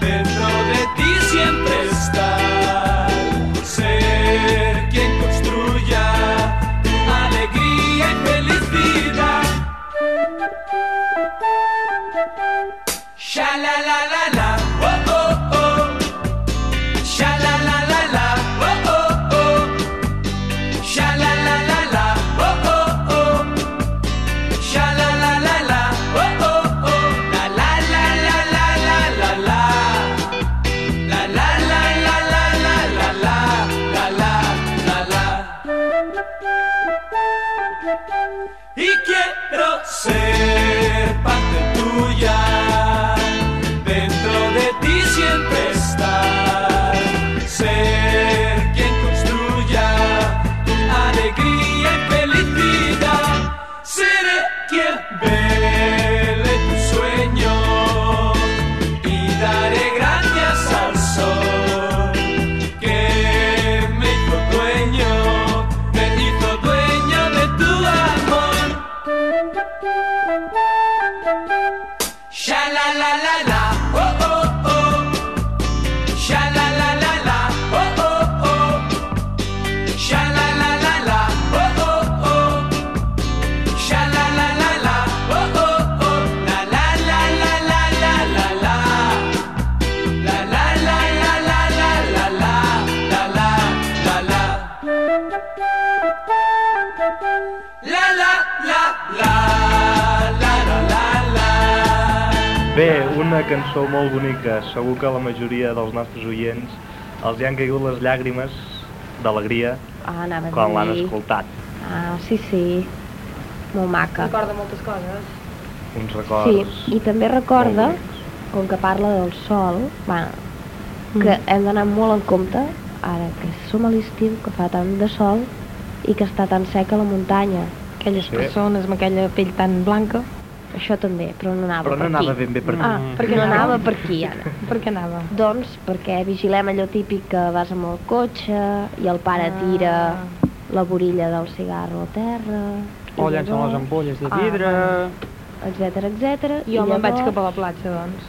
Speaker 10: Dentro de ti siempre estar, ser quien construya tu alegría y felicidad. Sha la la la la, oh oh oh. Sha la la la la, oh oh oh. Sha la la la la, oh oh oh. Sha la la la la, oh oh oh, la la la la la la la la, la la la la la la la la la la la la. Y quiero ser parte tuya, dentro de ti siempre estar, ser quien construya tu alegría y felicidad. Seré quien vele tu sueño y daré gracias al sol que me hizo dueño, me hizo dueño de tu amor. Sha la la la la, oh oh oh. Sha la la la la, oh oh oh. Sha la la la la, oh oh oh. Sha la la la la, oh oh oh, la la la la la la la la, la la la la la la la la la la la la, la la la la la la la la.
Speaker 2: Bé, una cançó molt bonica. Segur que a la majoria dels nostres oients els hi han caigut les llàgrimes d'alegria
Speaker 4: Ah, anava
Speaker 2: quan
Speaker 4: a
Speaker 2: l'han
Speaker 4: dir...
Speaker 2: escoltat.
Speaker 4: Ah, sí, sí. Molt maca.
Speaker 6: Recorda moltes coses.
Speaker 2: Uns
Speaker 4: Sí,
Speaker 2: records...
Speaker 4: i també recorda,
Speaker 2: molt bonics.
Speaker 4: com que parla del sol, bueno, que hem d'anar molt en compte, ara que som a l'estiu, que fa tant de sol i que està tan seca la muntanya.
Speaker 6: aquelles
Speaker 2: Sí.
Speaker 6: sí. persones amb aquella pell tan blanca.
Speaker 4: Això també, però no anava
Speaker 2: Però no
Speaker 4: per
Speaker 2: anava
Speaker 4: aquí.
Speaker 2: ben bé per aquí.
Speaker 3: Mm-hmm.
Speaker 6: Ah, per què
Speaker 4: no
Speaker 6: anava?
Speaker 4: anava per aquí, Anna.
Speaker 6: Per què anava?
Speaker 4: Doncs perquè vigilem allò típic que vas amb el cotxe i el pare tira la borilla del cigarro a terra...
Speaker 5: O llencen les ampolles de
Speaker 4: Ah,
Speaker 5: vidre...
Speaker 4: etc etc.
Speaker 6: Jo me'n vaig cap a la platja, doncs.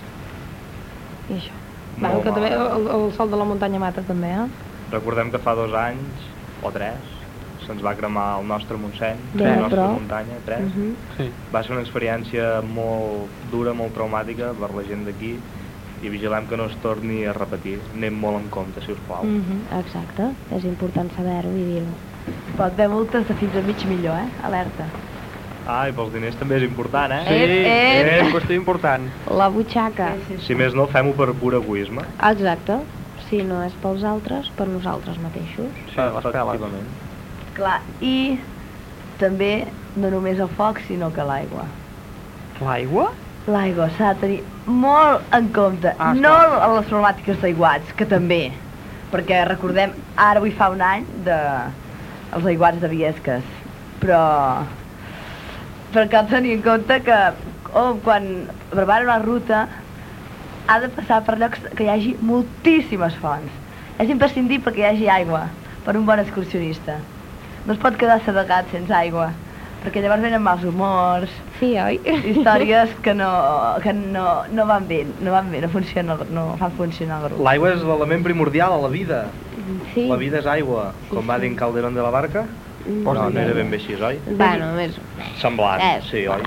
Speaker 6: I això. Va,
Speaker 2: Molt
Speaker 6: que també,
Speaker 2: mal.
Speaker 6: el, el sol de la muntanya mata també, eh?
Speaker 2: Recordem que fa dos anys, o tres, se'ns va cremar el nostre Montseny,
Speaker 6: Bé,
Speaker 2: la nostra
Speaker 6: però-
Speaker 2: muntanya, tres.
Speaker 6: Mhm.
Speaker 5: Sí.
Speaker 2: Va ser una experiència molt dura, molt traumàtica per la gent d'aquí i vigilem que no es torni a repetir. Anem molt en compte, si us plau.
Speaker 4: Mm. Mhm. Exacte, és important saber-ho i dir-ho.
Speaker 3: Pot haver multes de fins a mig milió, eh? Alerta.
Speaker 2: Ah, i pels diners també és important, eh?
Speaker 3: Sí, Ep, ep.
Speaker 5: és qüestió important.
Speaker 4: La butxaca.
Speaker 2: Si més no, fem-ho per pur egoisme.
Speaker 4: Exacte. Si no és pels altres, per nosaltres mateixos.
Speaker 2: Sí, Efectivament.
Speaker 3: Clar, i també no només el foc, sinó que l'aigua.
Speaker 5: L'aigua?
Speaker 3: L'aigua s'ha de tenir molt en compte, ah, no a les problemàtiques d'aiguats, que també, perquè recordem, ara avui fa un any de els aiguats de Viesques, però, però cal tenir en compte que oh, quan preparen una ruta ha de passar per llocs que hi hagi moltíssimes fonts. És imprescindible que hi hagi aigua per un bon excursionista. No es pot quedar sedegat sense aigua, perquè llavors venen mals humors,
Speaker 4: sí, oi?
Speaker 3: històries que no, que no, no van bé, no van bé, no, funciona, no fan funcionar el grup.
Speaker 2: L'aigua és l'element primordial a la vida.
Speaker 4: Sí.
Speaker 2: La vida és aigua, com va dir en Calderón de la Barca.
Speaker 4: Mm.
Speaker 2: No, no era ben bé així, oi?
Speaker 4: Bueno, més...
Speaker 2: Semblant,
Speaker 3: Eh,
Speaker 2: sí, oi?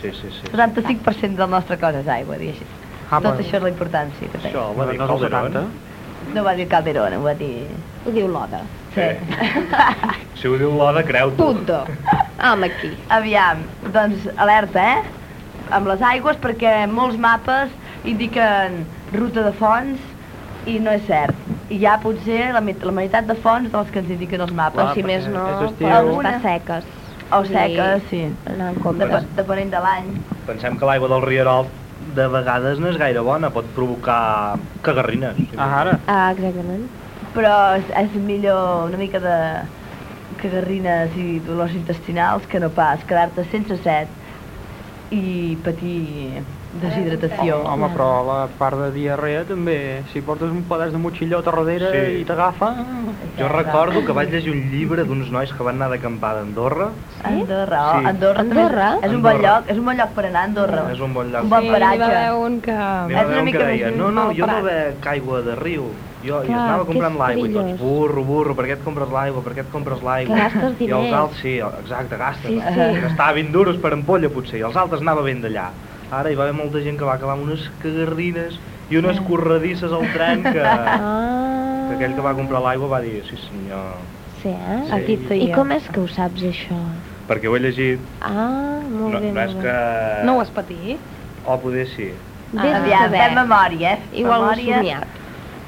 Speaker 2: Sí, sí, sí.
Speaker 3: 75% del nostre cos és aigua, dir així.
Speaker 2: Ah,
Speaker 4: Doncs
Speaker 3: Tot
Speaker 2: bueno.
Speaker 3: això és la importància que té.
Speaker 2: Això, ho va dir
Speaker 5: No, no és el
Speaker 2: Calderón.
Speaker 5: 70.
Speaker 3: No ho va dir Calderón, ho va dir...
Speaker 4: Ho diu l'Oda.
Speaker 3: Sí.
Speaker 2: Si ho diu l'Oda, creu-t'ho.
Speaker 4: Punto. Home, aquí.
Speaker 3: Aviam, doncs alerta, eh? Amb les aigües, perquè molts mapes indiquen ruta de fonts i no és cert. I hi ha potser la, mit la meitat de fonts de les que ens indiquen els mapes.
Speaker 4: o si
Speaker 2: Eh,
Speaker 4: més no, poden
Speaker 3: Alguna.
Speaker 4: estar seques.
Speaker 3: O seques, sí.
Speaker 4: Anar en
Speaker 3: Dep
Speaker 4: compte.
Speaker 3: depenent de l'any.
Speaker 2: Pensem que l'aigua del rierol de vegades no és gaire bona, pot provocar cagarrines. Ah,
Speaker 5: ara.
Speaker 4: Ah, exactament.
Speaker 3: Però és, és millor una mica de cagarrines i dolors intestinals que no pas quedar-te sense set i patir deshidratació.
Speaker 5: Home, però la part de diarrea també, si portes un pedaç de motxillot a darrere
Speaker 2: Sí.
Speaker 5: i t'agafa...
Speaker 2: Jo recordo que vaig llegir un llibre d'uns nois que van anar d'acampada a Andorra.
Speaker 3: Andorra,
Speaker 2: Sí.
Speaker 3: sí. Andorra, també
Speaker 4: Andorra?
Speaker 3: És, és un bon
Speaker 2: Andorra.
Speaker 3: lloc, és un bon lloc per anar a Andorra.
Speaker 2: És un bon lloc.
Speaker 3: Un bon
Speaker 6: Hi va
Speaker 3: paratge.
Speaker 6: haver un que...
Speaker 2: N'hi va
Speaker 3: És una
Speaker 2: haver un que
Speaker 3: mica
Speaker 2: deia,
Speaker 3: més
Speaker 2: no, no,
Speaker 6: mal
Speaker 2: jo no
Speaker 6: parat."
Speaker 2: bec aigua de riu. Jo, jo
Speaker 4: Clar,
Speaker 2: anava
Speaker 4: que
Speaker 2: comprant
Speaker 4: és
Speaker 2: l'aigua i tots,
Speaker 4: perillós.
Speaker 2: burro, burro, per què et compres l'aigua, per què et compres l'aigua?
Speaker 4: Que gastes
Speaker 2: I els
Speaker 4: diners.
Speaker 2: altres, sí, exacte, gastes.
Speaker 4: Sí,
Speaker 2: eh?
Speaker 4: sí.
Speaker 2: Gastava 20 duros per ampolla, potser, i els altres anava ben d'allà. Ara hi va haver molta gent que va acabar amb unes cagarrines i unes
Speaker 4: Eh.
Speaker 2: corredisses al tren que,
Speaker 4: Ah,
Speaker 2: que aquell que va comprar l'aigua va dir, sí senyor,
Speaker 4: sí, eh?
Speaker 2: Sí. Aquí
Speaker 3: estoy
Speaker 4: I
Speaker 3: yo.
Speaker 4: com és que ho saps, això?
Speaker 2: perquè ho he llegit,
Speaker 4: Ah, molt
Speaker 2: no,
Speaker 4: bé,
Speaker 2: no és
Speaker 4: molt bé.
Speaker 2: que...
Speaker 6: No ho has patit?
Speaker 2: O poder sí.
Speaker 4: Vés a
Speaker 3: Aviam, eh?
Speaker 4: saber.
Speaker 3: fem memòria, eh?
Speaker 4: Igual ho
Speaker 3: memòria.
Speaker 4: somiat.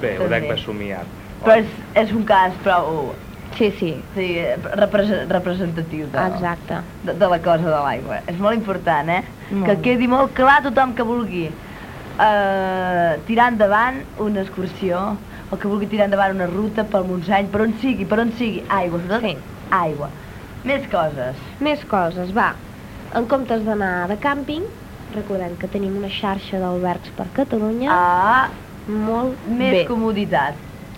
Speaker 2: Bé, ho dec
Speaker 3: També.
Speaker 2: per somiar.
Speaker 3: Però és, és un cas prou
Speaker 4: Sí, sí,
Speaker 3: sí, repre- representatiu de,
Speaker 4: exacte.
Speaker 3: de, de la cosa de l'aigua. És molt important, eh?
Speaker 6: Molt
Speaker 3: Que
Speaker 6: bé.
Speaker 3: quedi molt clar a tothom que vulgui eh, tirar endavant una excursió o que vulgui tirar endavant una ruta pel Montseny, per on sigui, per on sigui, aigua, sobretot
Speaker 4: Sí.
Speaker 3: aigua. Més coses.
Speaker 4: Més coses, va. En comptes d'anar de càmping, recordem que tenim una xarxa d'albergs per Catalunya
Speaker 3: Ah,
Speaker 4: molt
Speaker 3: més
Speaker 4: bé.
Speaker 3: comoditat.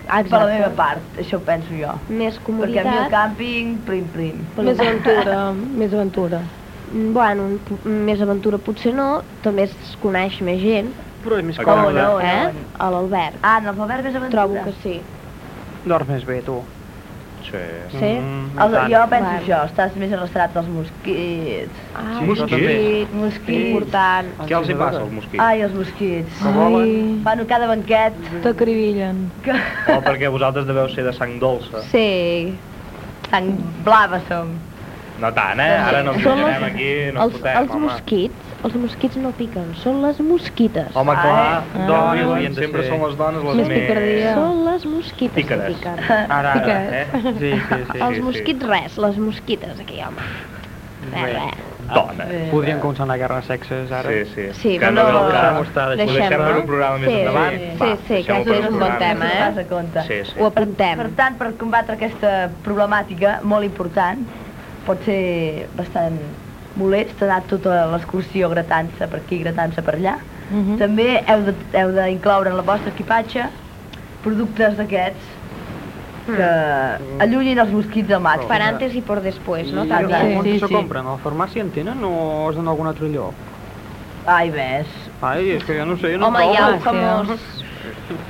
Speaker 4: Exacte.
Speaker 3: Per la meva part, això ho penso jo.
Speaker 4: Més
Speaker 3: Perquè a mi el
Speaker 4: comoditat.
Speaker 3: càmping, prim, prim.
Speaker 6: Més aventura, més aventura.
Speaker 4: Mm, Bueno, un po- més aventura potser no, també es coneix més gent,
Speaker 5: Però és més
Speaker 2: Exacte.
Speaker 5: còmode.
Speaker 3: no,
Speaker 4: eh?
Speaker 3: no.
Speaker 4: A l'alberg.
Speaker 3: Ah, en el Fabert més aventura.
Speaker 4: Trobo que sí.
Speaker 5: Dorms més bé, tu.
Speaker 2: Oh, Sí.
Speaker 4: Sí?
Speaker 5: Mm,
Speaker 3: El,
Speaker 5: i
Speaker 3: jo
Speaker 5: tant.
Speaker 3: penso
Speaker 4: Val.
Speaker 3: això, estàs més arrastrat dels mosquits.
Speaker 4: Ah,
Speaker 5: Sí, això també.
Speaker 4: mosquit, mosquit, important.
Speaker 2: Què els hi passa als mosquits?
Speaker 3: Ai, els mosquits.
Speaker 5: Que volen.
Speaker 3: Fan a cada banquet.
Speaker 6: T'acribillen.
Speaker 3: Que...
Speaker 2: O perquè vosaltres deveu ser de sang dolça.
Speaker 4: Sí.
Speaker 3: Tan blava som.
Speaker 2: No tant, eh? Ara no ens
Speaker 4: Som
Speaker 2: jutjarem
Speaker 4: els-
Speaker 2: aquí, no
Speaker 4: Els,
Speaker 2: ens fotem,
Speaker 4: els
Speaker 2: home.
Speaker 4: mosquits, els mosquits no piquen, són les mosquites.
Speaker 2: Home, clar,
Speaker 3: Ah, eh?
Speaker 2: dones,
Speaker 5: Ah,
Speaker 2: doncs, sempre
Speaker 5: sí.
Speaker 2: són les dones les
Speaker 6: Més
Speaker 2: més...
Speaker 6: picardia.
Speaker 4: Són les mosquites
Speaker 2: Pícares.
Speaker 4: que piquen.
Speaker 5: Ara, ara,
Speaker 6: Pica.
Speaker 5: eh? Sí, sí, sí.
Speaker 4: els
Speaker 2: Ah, sí.
Speaker 4: mosquits res, les mosquites aquí, home. Res,
Speaker 5: Bé.
Speaker 4: res.
Speaker 2: Dones.
Speaker 5: Podríem començar una guerra de sexes, ara.
Speaker 2: Sí, sí.
Speaker 4: Sí,
Speaker 2: que
Speaker 4: però
Speaker 2: no és el
Speaker 4: no-
Speaker 2: cas.
Speaker 5: Ho
Speaker 2: Ho deixem
Speaker 4: no?
Speaker 2: per un programa més
Speaker 4: Sí,
Speaker 2: endavant?
Speaker 4: sí,
Speaker 2: Va,
Speaker 4: sí, sí,
Speaker 2: deixem-ho
Speaker 4: que
Speaker 2: per
Speaker 4: és un
Speaker 2: programa
Speaker 4: bon tema, eh?
Speaker 2: més endavant.
Speaker 3: Vas a compte.
Speaker 2: Sí, sí.
Speaker 4: Ho aprentem.
Speaker 3: Per tant, per combatre aquesta problemàtica molt important, pot ser bastant molest anar tota l'excursió gratant-se per aquí, gratant-se per allà.
Speaker 11: Mhm.
Speaker 3: També heu de- heu d'incloure en el vostre equipatge productes d'aquests que allunyin els mosquits del maig.
Speaker 4: Per antes i per després, no? eh?
Speaker 5: Però
Speaker 4: També.
Speaker 5: on se compren? A la farmàcia en tenen o és en algun altre lloc?
Speaker 3: Ai, ves.
Speaker 5: Ai, és que jo no sé, jo no
Speaker 4: Home,
Speaker 5: trobo. Ah,
Speaker 4: hi ha el famós,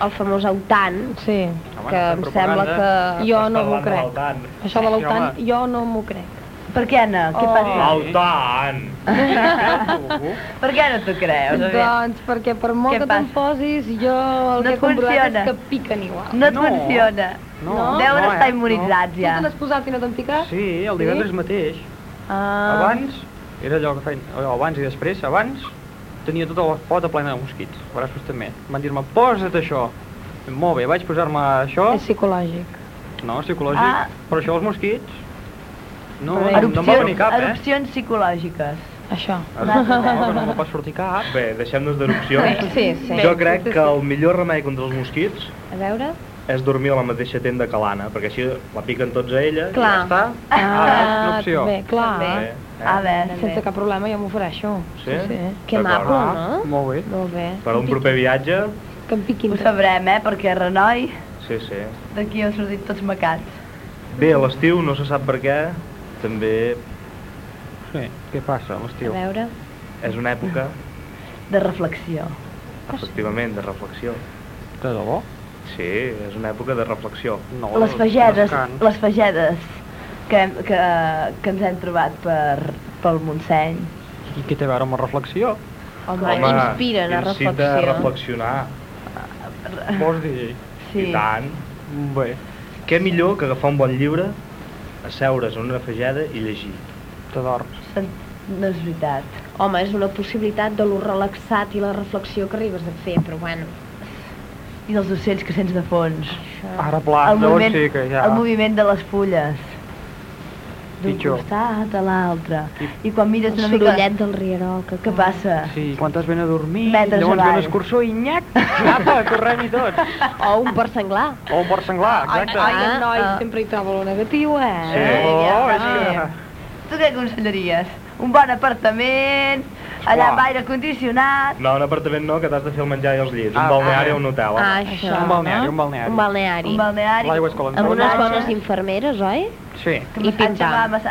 Speaker 4: el famós autant, sí. que em sembla que...
Speaker 6: Això de
Speaker 4: Sí,
Speaker 6: l'autant,
Speaker 4: home.
Speaker 6: jo no m'ho crec.
Speaker 3: Per què, Anna?
Speaker 4: Oh.
Speaker 3: Què passa?
Speaker 2: Autant!
Speaker 5: Eh,
Speaker 3: Per què no t'ho creus? aviam?
Speaker 6: Doncs perquè per molt
Speaker 3: Què
Speaker 6: que te'n posis, jo el
Speaker 3: No
Speaker 6: que he comprovat
Speaker 3: funciona.
Speaker 6: és que piquen igual.
Speaker 3: No et funciona. Deuen
Speaker 5: no,
Speaker 3: estar
Speaker 5: eh?
Speaker 3: immunitzats,
Speaker 6: Tu
Speaker 3: ja.
Speaker 6: te n'has posat i no t'han picat?
Speaker 5: Sí, el divendres mateix.
Speaker 6: Ah.
Speaker 5: Abans, era allò que feien, allò, abans i després, abans tenia tota la pota plena de mosquits, braços també. Van dir-me, posa't això. Molt bé, vaig posar-me això,
Speaker 6: És psicològic.
Speaker 5: no, psicològic,
Speaker 3: Ah.
Speaker 5: però això els mosquits... No, no, no em va venir
Speaker 3: erupcions,
Speaker 5: cap, eh?
Speaker 3: erupcions psicològiques. Això.
Speaker 5: No, no em va sortir cap.
Speaker 2: Bé, deixem-nos d'erupcions.
Speaker 4: Sí, sí.
Speaker 2: Jo crec que el millor remei contra els mosquits
Speaker 4: A veure...
Speaker 2: és dormir a la mateixa tenda que l'Anna, perquè així la piquen tots a ella
Speaker 4: Clar.
Speaker 2: i ja està. Ah, una opció.
Speaker 6: Bé, clar.
Speaker 2: També.
Speaker 6: A
Speaker 3: veure,
Speaker 6: sense cap problema jo m'ofereixo.
Speaker 2: Sí?
Speaker 6: Que
Speaker 2: D'acord.
Speaker 6: maco,
Speaker 2: Ah,
Speaker 6: no?
Speaker 2: Molt bé.
Speaker 6: Molt bé.
Speaker 2: Per a un proper viatge,
Speaker 6: Que em piquin.
Speaker 3: Ho sabrem, eh? Perquè a Renoi,
Speaker 2: sí, sí.
Speaker 3: d'aquí han sortit tots macats.
Speaker 2: Bé, a l'estiu, no se sap per què, també...
Speaker 5: Sí, què passa a l'estiu?
Speaker 3: veure...
Speaker 2: És una època,
Speaker 3: De reflexió.
Speaker 4: Ah,
Speaker 2: efectivament, de reflexió.
Speaker 5: De debò?
Speaker 2: Sí, és una època de reflexió.
Speaker 5: No,
Speaker 3: les fagedes, les fagedes que, hem- que, que ens hem trobat per, pel Montseny.
Speaker 5: I què té a veure amb la reflexió?
Speaker 3: Home, Home, inspiren a
Speaker 2: incita
Speaker 3: reflexió.
Speaker 2: a reflexionar.
Speaker 5: Vols dir?
Speaker 2: I tant.
Speaker 5: Bé.
Speaker 2: Què millor que agafar un bon llibre, asseure's en una fageda i llegir.
Speaker 5: Te dorms.
Speaker 3: No és veritat.
Speaker 4: Home, és una possibilitat de lo relaxat i la reflexió que arribes a fer, però bueno...
Speaker 3: I dels ocells que sents de fons.
Speaker 5: Ara, pla,
Speaker 3: el
Speaker 5: Ah, llavors
Speaker 3: moviment,
Speaker 5: sí que ja.
Speaker 3: El moviment de les fulles. D'un
Speaker 5: Pitjor.
Speaker 4: Ah,
Speaker 3: costat a l'altre. I quan mires
Speaker 4: El
Speaker 3: una mica...
Speaker 4: sorollet del rierol que...
Speaker 3: Què passa?
Speaker 5: Sí, quan t'has ben a dormir,
Speaker 3: Metres
Speaker 5: llavors
Speaker 3: avall.
Speaker 5: ve un excursor i nyac, apa, corrent i tot.
Speaker 4: O un per senglar.
Speaker 5: O un porc senglar, exacte.
Speaker 6: Ai, ai, noi, sempre hi trobo el negatiu, eh?
Speaker 5: Sí. Oh, és que...
Speaker 3: Tu què aconsellaries? Un bon apartament, allà amb
Speaker 2: Uah.
Speaker 3: aire condicionat...
Speaker 2: No, un apartament no, que t'has de fer el menjar i els llits.
Speaker 5: Ah,
Speaker 2: Un balneari
Speaker 5: ah.
Speaker 2: o un hotel. eh? home.
Speaker 4: Ah, això,
Speaker 5: Un balneari,
Speaker 4: no?
Speaker 5: un balneari.
Speaker 4: Un balneari.
Speaker 3: Un balneari.
Speaker 5: L'aigua és calenta.
Speaker 4: Amb unes
Speaker 5: Massatge.
Speaker 4: bones infermeres, oi?
Speaker 5: Sí.
Speaker 4: I pintar.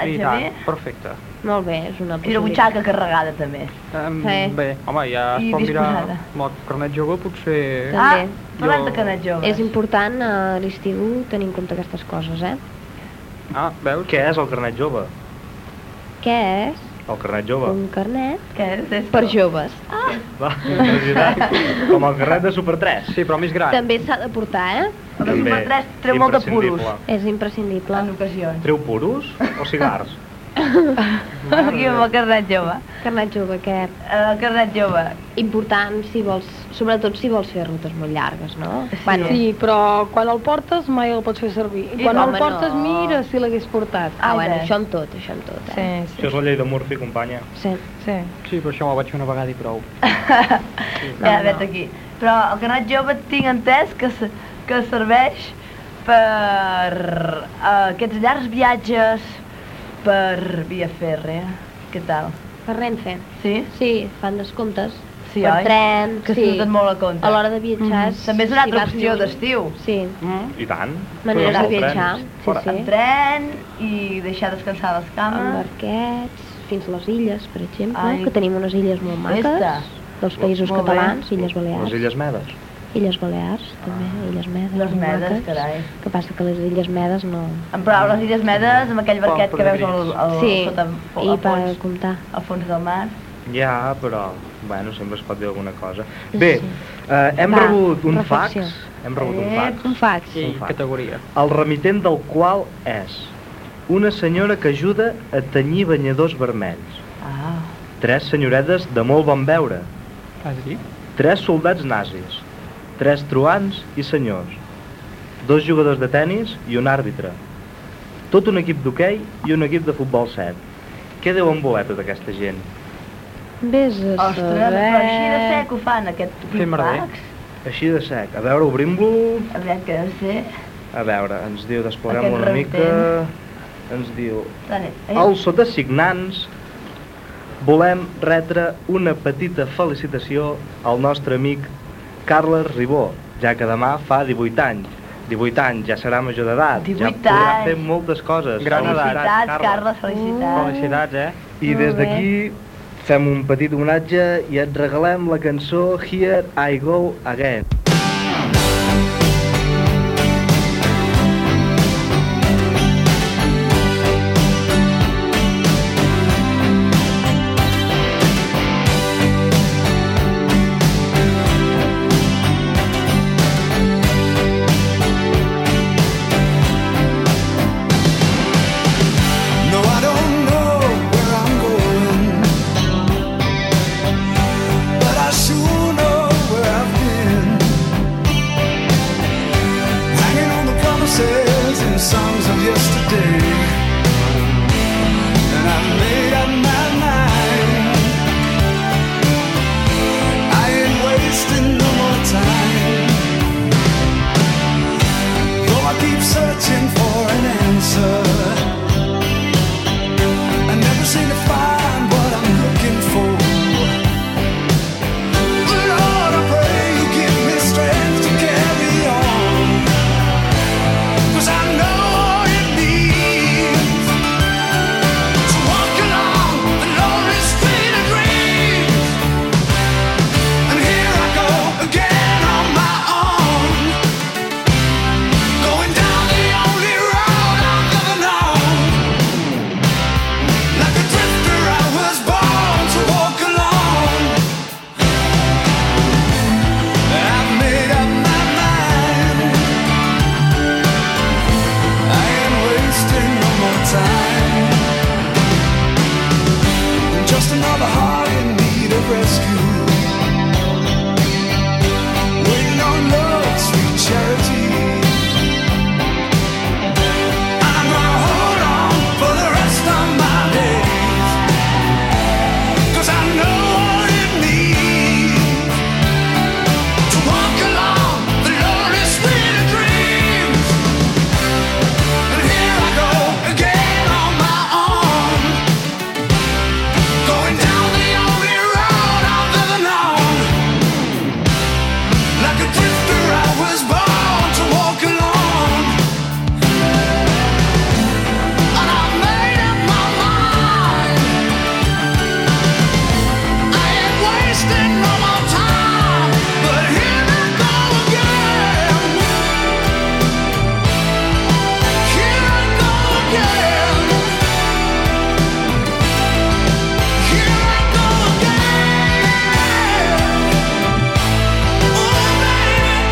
Speaker 5: I tant, perfecte.
Speaker 4: Molt bé, és una
Speaker 3: eh? I una
Speaker 4: possibilitat.
Speaker 3: butxaca carregada, també.
Speaker 5: Um,
Speaker 3: Sí.
Speaker 5: Bé, home, ja es
Speaker 3: I
Speaker 5: pot mirar
Speaker 3: disposada.
Speaker 5: amb el carnet jove, potser...
Speaker 3: Ah,
Speaker 4: També.
Speaker 5: Jo-
Speaker 4: És important eh, a l'estiu tenir en compte aquestes coses, eh?
Speaker 5: Ah, veus?
Speaker 2: Què és el carnet jove?
Speaker 4: Què és?
Speaker 2: El carnet jove.
Speaker 3: Mm.
Speaker 4: Un carnet
Speaker 3: Què és esto?
Speaker 4: per joves.
Speaker 2: Va, Com el carnet de Super 3.
Speaker 5: Sí, però més
Speaker 3: Ah.
Speaker 5: gran.
Speaker 4: També s'ha de portar, eh?
Speaker 3: El de Super 3 treu molt de puros.
Speaker 2: imprescindible.
Speaker 4: És imprescindible.
Speaker 3: En ocasions.
Speaker 2: Treu puros o cigars?
Speaker 3: Aquí amb el carnet jove. Eh,
Speaker 4: Carnet jove, què?
Speaker 3: El carnet jove.
Speaker 4: Important si vols, sobretot si vols fer rutes molt llargues, no?
Speaker 6: Bueno. Sí, però quan el portes mai el pots fer servir. I
Speaker 4: I
Speaker 6: quan
Speaker 4: no,
Speaker 6: el
Speaker 4: home,
Speaker 6: portes,
Speaker 4: no.
Speaker 6: mira si l'hagués portat.
Speaker 4: Ah,
Speaker 6: Ai,
Speaker 4: bueno,
Speaker 6: bé.
Speaker 4: això amb tot, això amb tot,
Speaker 6: Sí,
Speaker 4: eh?
Speaker 2: Això és la llei de Murphy, companya.
Speaker 4: Sí.
Speaker 6: Sí.
Speaker 5: Sí, però això m'ho vaig fer una vegada i prou.
Speaker 3: Ja, vet aquí. Però el carnet jove tinc entès que, se- que serveix er per eh, aquests llargs viatges per er, via fèrrea. Què tal?
Speaker 4: Per Renfe.
Speaker 3: Sí?
Speaker 4: Sí, fan descomptes.
Speaker 3: Sí,
Speaker 4: per
Speaker 3: oi?
Speaker 4: tren,
Speaker 3: Que
Speaker 4: sí.
Speaker 3: surten molt a compte.
Speaker 4: A l'hora de viatjar...
Speaker 3: Mhm. També és una altra
Speaker 4: vas
Speaker 3: opció
Speaker 4: lluny.
Speaker 3: d'estiu. Mm.
Speaker 4: Sí.
Speaker 2: I tant.
Speaker 4: Maneres
Speaker 2: Però
Speaker 4: de
Speaker 2: el tren.
Speaker 4: viatjar, sí,
Speaker 2: Fora.
Speaker 4: sí.
Speaker 3: En tren i deixar descansar les
Speaker 4: Amb
Speaker 3: cames.
Speaker 4: barquets, fins a les illes, per exemple,
Speaker 3: Ah. Ai.
Speaker 4: que tenim unes illes molt maques.
Speaker 3: Festa.
Speaker 4: Dels països
Speaker 3: Molt bé.
Speaker 4: catalans, Illes Balears.
Speaker 2: Les Illes Medes.
Speaker 4: Illes Balears, també, Illes Medes.
Speaker 3: Ah. Les
Speaker 4: molt
Speaker 3: Medes,
Speaker 4: maques.
Speaker 3: carai.
Speaker 4: Que passa que les Illes Medes no...
Speaker 3: En prou, les Illes Medes, amb aquell barquet que veus al, al,
Speaker 4: sí,
Speaker 3: sota,
Speaker 4: i
Speaker 3: al,
Speaker 4: per
Speaker 3: fons,
Speaker 4: comptar.
Speaker 3: al fons del mar.
Speaker 2: Ja, però, bueno, sempre es pot dir alguna cosa. Bé, eh, hem
Speaker 4: Va,
Speaker 2: rebut un
Speaker 4: reflexió. Eh,
Speaker 2: fax, hem
Speaker 3: Eh,
Speaker 2: rebut un fax,
Speaker 4: Un fax.
Speaker 5: Sí,
Speaker 2: Un fax.
Speaker 5: categoria.
Speaker 2: el remitent del qual és una senyora que ajuda a tenyir banyadors vermells,
Speaker 3: Ah.
Speaker 2: tres senyoretes de molt bon veure,
Speaker 5: Has dit?
Speaker 2: tres soldats nazis, tres truans i senyors, dos jugadors de tennis i un àrbitre, tot un equip d'hoquei i un equip de futbol 7. Què deuen voler tota aquesta gent?
Speaker 4: Vés a
Speaker 3: Ostres, però així de
Speaker 4: saber...
Speaker 3: sec ho fan, aquest
Speaker 2: Fer merder.
Speaker 3: fax.
Speaker 2: Així de sec. A veure, obrim-lo...
Speaker 3: A veure què deu ser.
Speaker 2: A veure, ens diu, despleguem
Speaker 3: Aquest
Speaker 2: una mica...
Speaker 3: retent.
Speaker 2: ens diu
Speaker 3: Dale.
Speaker 2: Els sotassignants volem retre una petita felicitació al nostre amic Carles Ribó, ja que demà fa 18 anys. 18 anys, ja serà major d'edat, ja
Speaker 3: 18
Speaker 2: podrà
Speaker 3: anys.
Speaker 2: fer moltes coses.
Speaker 5: Gran edat,
Speaker 3: Felicitats, Carles, felicitats.
Speaker 5: Felicitats, eh?
Speaker 2: I
Speaker 3: Molt
Speaker 2: des
Speaker 3: bé.
Speaker 2: d'aquí fem un petit homenatge i et regalem la cançó Here I Go Again.
Speaker 12: No, I don't know where I'm going, but I sure know where I've been. Hanging on the promises and songs of yesterday, and I made up my mind. I ain't wasting no more time. Though I keep searching for an answer. I never seem to find what I'm looking for. Lord, I pray you give me strength to carry on. 'Cause I know it means to walk along the lonely street of dreams. And here I go again on my own. Going down the only road I've ever known. Like a drifter, I was born to walk alone. I've made up my mind. I ain't wasting no more time. I'm just another heart in need of rescue. Waiting on love, sweet charity. I'm gonna hold on for the rest of my days. 'Cause I know what it means to walk along the lonely street of dreams. And here I go again on my own, going down the only road I've ever known. Like a drifter, I was born to walk alone. And I made up my mind. I ain't wasting no more time. But here I go again. Here I go again. Here I go again. Oh baby, oh yeah.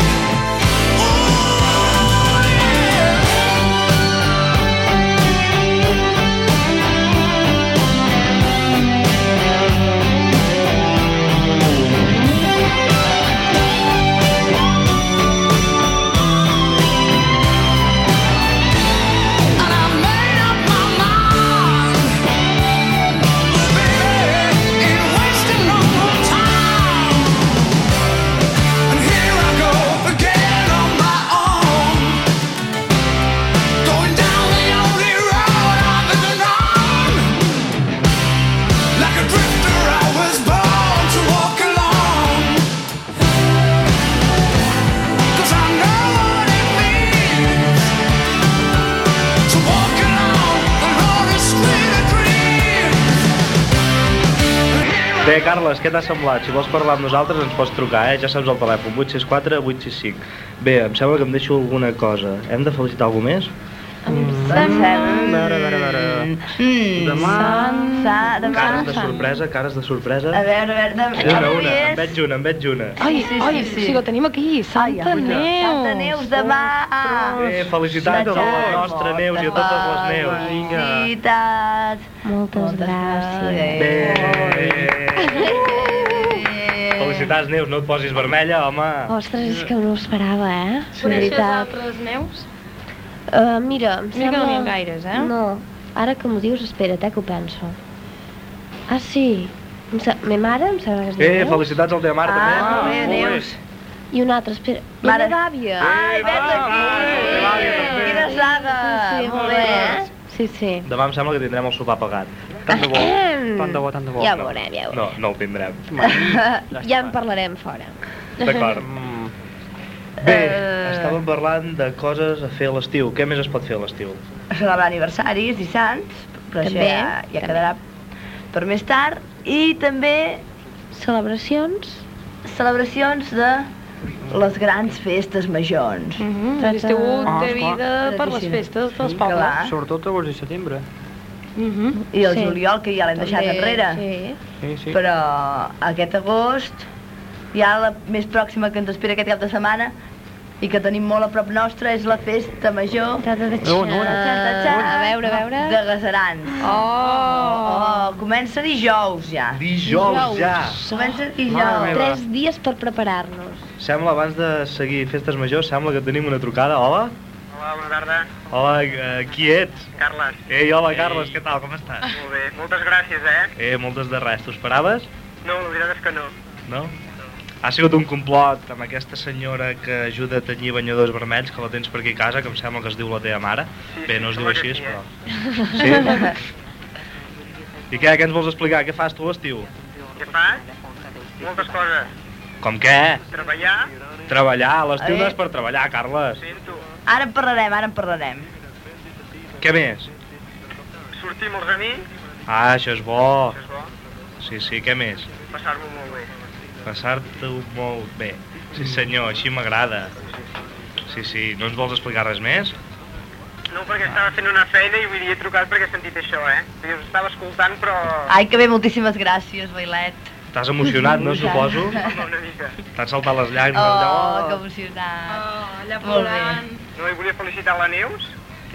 Speaker 12: To walk along the lonely street of dreams
Speaker 2: Bé, Carles, què t'ha semblat? Si vols parlar amb nosaltres ens pots trucar, eh? Ja saps el telèfon, 864 865. Bé, em sembla que em deixo alguna cosa. Hem de felicitar algú més?
Speaker 3: Pensem... Mm.
Speaker 2: Demà...
Speaker 3: Sa, demà...
Speaker 2: Cares de sorpresa, cares de sorpresa.
Speaker 3: A veure, a veure, demà...
Speaker 2: Una,
Speaker 3: avui
Speaker 2: una, en
Speaker 3: és- Ah,
Speaker 2: veig una, en veig una.
Speaker 6: Ai, sí, ai, sí, sí. si lo tenim aquí, Santa
Speaker 3: Ai,
Speaker 6: Neus.
Speaker 3: Santa Neus, demà...
Speaker 2: Eh, felicitats a la nostra Neus i a totes les Neus. Vinga.
Speaker 3: Felicitats.
Speaker 4: Moltes gràcies.
Speaker 2: Bé. Felicitats, Neus, no et posis vermella, home.
Speaker 4: Ostres, és que no ho esperava, eh?
Speaker 2: Sí.
Speaker 4: Sí. Veritat.
Speaker 6: altres neus?
Speaker 4: Uh, mira, em
Speaker 6: Mira que
Speaker 4: sembla...
Speaker 6: no n'hi ha gaires, eh?
Speaker 4: No. Ara que m'ho dius, espera't, eh, que ho penso. Ah, sí. Em sa... Me mare em sembla que es diu
Speaker 2: Eh,
Speaker 4: Neus.
Speaker 2: felicitats al teva mare, també.
Speaker 3: Ah, molt bé,
Speaker 2: Molt
Speaker 3: Neus.
Speaker 4: I una altra, espera.
Speaker 3: Mare-
Speaker 4: Mare... I la gàbia.
Speaker 3: Ai, vet
Speaker 2: Ah,
Speaker 3: aquí.
Speaker 2: la gàbia, també.
Speaker 3: Quina saga.
Speaker 4: Sí,
Speaker 3: Ah, Molt
Speaker 4: molt
Speaker 3: bé,
Speaker 4: bé.
Speaker 3: eh?
Speaker 4: Sí, sí.
Speaker 2: Demà em sembla que tindrem el sopar pagat.
Speaker 5: Tant de bo, tant de bo, tant de bo.
Speaker 4: Ja
Speaker 5: No.
Speaker 4: veurem, ja veurem.
Speaker 2: No, no el tindrem.
Speaker 4: ja en parlarem fora.
Speaker 2: D'acord.
Speaker 5: Mm.
Speaker 2: Eh, Bé, estàvem parlant de coses a fer a l'estiu. Què més es pot fer a l'estiu?
Speaker 3: celebrar aniversaris i sants, però
Speaker 4: També,
Speaker 3: això ja, ja quedarà per més tard. I també...
Speaker 4: Celebracions?
Speaker 3: Celebracions de les grans festes majors. Mm
Speaker 6: -hmm. L'estiu té vida per les festes dels pobles.
Speaker 5: Sobretot agost i setembre.
Speaker 3: Mm -hmm. I el
Speaker 6: Sí.
Speaker 3: sí. juliol, que ja l'hem deixat
Speaker 6: També,
Speaker 3: enrere.
Speaker 6: sí.
Speaker 5: Sí, sí.
Speaker 3: Però aquest agost, ja la més pròxima que ens espera aquest cap de setmana, i que tenim molt a prop nostra, és la festa major...
Speaker 12: No, no, no.
Speaker 3: A veure, a veure... De Gasarans. Oh! oh! Comença dijous, ja.
Speaker 2: Ah, Dijous, ja.
Speaker 3: Comença
Speaker 2: Mare
Speaker 3: dijous.
Speaker 2: meva. Tres
Speaker 3: dies per preparar-nos.
Speaker 2: Sembla, abans de seguir festes majors, sembla que tenim una trucada. Hola?
Speaker 11: Hola, bona tarda.
Speaker 2: Hola, eh, qui ets?
Speaker 11: Carles.
Speaker 2: Ei, hola, Carles, què tal, com estàs?
Speaker 11: Molt bé, moltes gràcies, eh?
Speaker 2: Eh, moltes de res. T'ho esperaves?
Speaker 11: No, la veritat és que no.
Speaker 2: No? Ha sigut un complot amb aquesta senyora que ajuda a tenyir banyadors vermells, que la tens per aquí a casa, que em sembla que es diu la teva mare. Bé, no es diu així, però... Sí? I què, què ens vols explicar? Què fas tu a l'estiu?
Speaker 11: Què fas? Moltes coses.
Speaker 2: Com què?
Speaker 11: Treballar?
Speaker 2: Treballar, a l'estiu
Speaker 3: Eh?
Speaker 2: no és per treballar, Carles.
Speaker 3: Ara en parlarem, ara en parlarem.
Speaker 2: Què més?
Speaker 11: Sortir amb els amics?
Speaker 2: Ah, això és bo. Sí, sí, què més?
Speaker 11: Passar-m'ho molt bé.
Speaker 2: Passar-t'ho molt bé.
Speaker 3: Mm.
Speaker 2: Sí senyor, així m'agrada. Sí, sí, no ens vols explicar res més?
Speaker 11: No, perquè estava fent una feina i vull dir, he trucat perquè he sentit això, eh? Vull dir, us estava escoltant, però...
Speaker 3: Ai, que bé, moltíssimes gràcies, Bailet.
Speaker 2: T'has emocionat, no, suposo?
Speaker 11: Home, una mica.
Speaker 2: T'han saltat les llàgrimes.
Speaker 3: Oh, que
Speaker 2: allò.
Speaker 3: emocionant.
Speaker 6: Oh, allà
Speaker 3: Molt bé.
Speaker 6: plorant.
Speaker 11: No, i volia felicitar la Neus.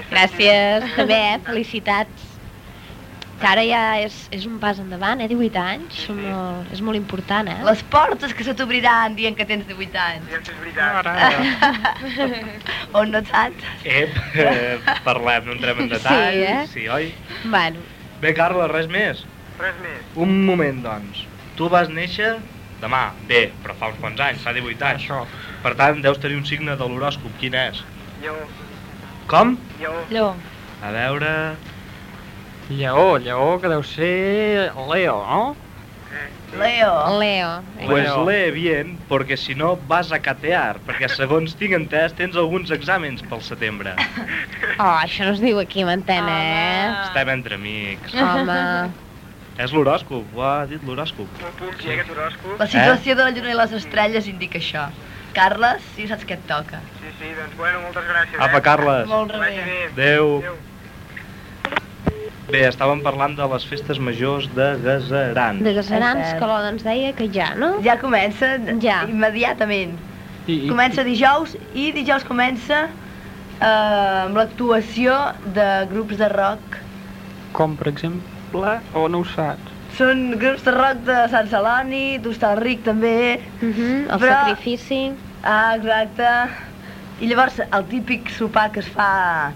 Speaker 4: Gràcies, també, eh? felicitats. Que ara ja és, és un pas endavant, eh? 18 anys, són molt, és molt important, eh?
Speaker 3: Les portes que se t'obriran dient que tens 18 anys.
Speaker 11: Ja és veritat.
Speaker 3: On no et saps?
Speaker 2: Ep, eh, parlem, no entrem en detall.
Speaker 3: Sí, eh?
Speaker 2: sí oi?
Speaker 4: Bueno.
Speaker 2: Bé, Carles, res més?
Speaker 11: Res més.
Speaker 2: Un moment, doncs. Tu vas néixer demà, bé, però fa uns quants anys, fa 18 anys. Això. Per tant, deus tenir un signe de l'horòscop. Quin és?
Speaker 11: Lleó.
Speaker 2: Com?
Speaker 11: Lleó.
Speaker 6: Lleó.
Speaker 2: A veure...
Speaker 5: Lleó, lleó, que deu ser Leo, no?
Speaker 3: Leo.
Speaker 4: Leo.
Speaker 2: Pues lee bien, perquè si no vas a catear, perquè segons tinc entès tens alguns exàmens pel setembre.
Speaker 4: Oh, això no es diu aquí, m'entén, eh?
Speaker 2: Estem entre amics.
Speaker 4: Home.
Speaker 2: És l'horòscop, ho ha dit l'horòscop.
Speaker 11: Sí, aquest horòscop.
Speaker 3: La
Speaker 5: Eh?
Speaker 3: situació de la lluna i les estrelles indica això. Carles, si saps què et toca.
Speaker 11: Sí, sí, doncs bueno, moltes
Speaker 3: eh?
Speaker 11: gràcies.
Speaker 2: Apa, Carles.
Speaker 3: Molt
Speaker 11: bé. Vagi bé.
Speaker 2: Adéu. Bé, estàvem parlant de les festes majors de Gaseran.
Speaker 4: De Gasarans,
Speaker 3: Cert.
Speaker 4: que l'Oda ens deia que ja, no?
Speaker 3: Ja comença ja. immediatament.
Speaker 5: I,
Speaker 3: Comença dijous i dijous comença eh, amb l'actuació de grups de rock.
Speaker 5: Com, per exemple, o no ho saps?
Speaker 3: Són grups de rock de Sant Celoni, d'Hostalric també.
Speaker 4: Uh -huh, el sacrifici.
Speaker 3: Ah, exacte. I llavors el típic sopar que es fa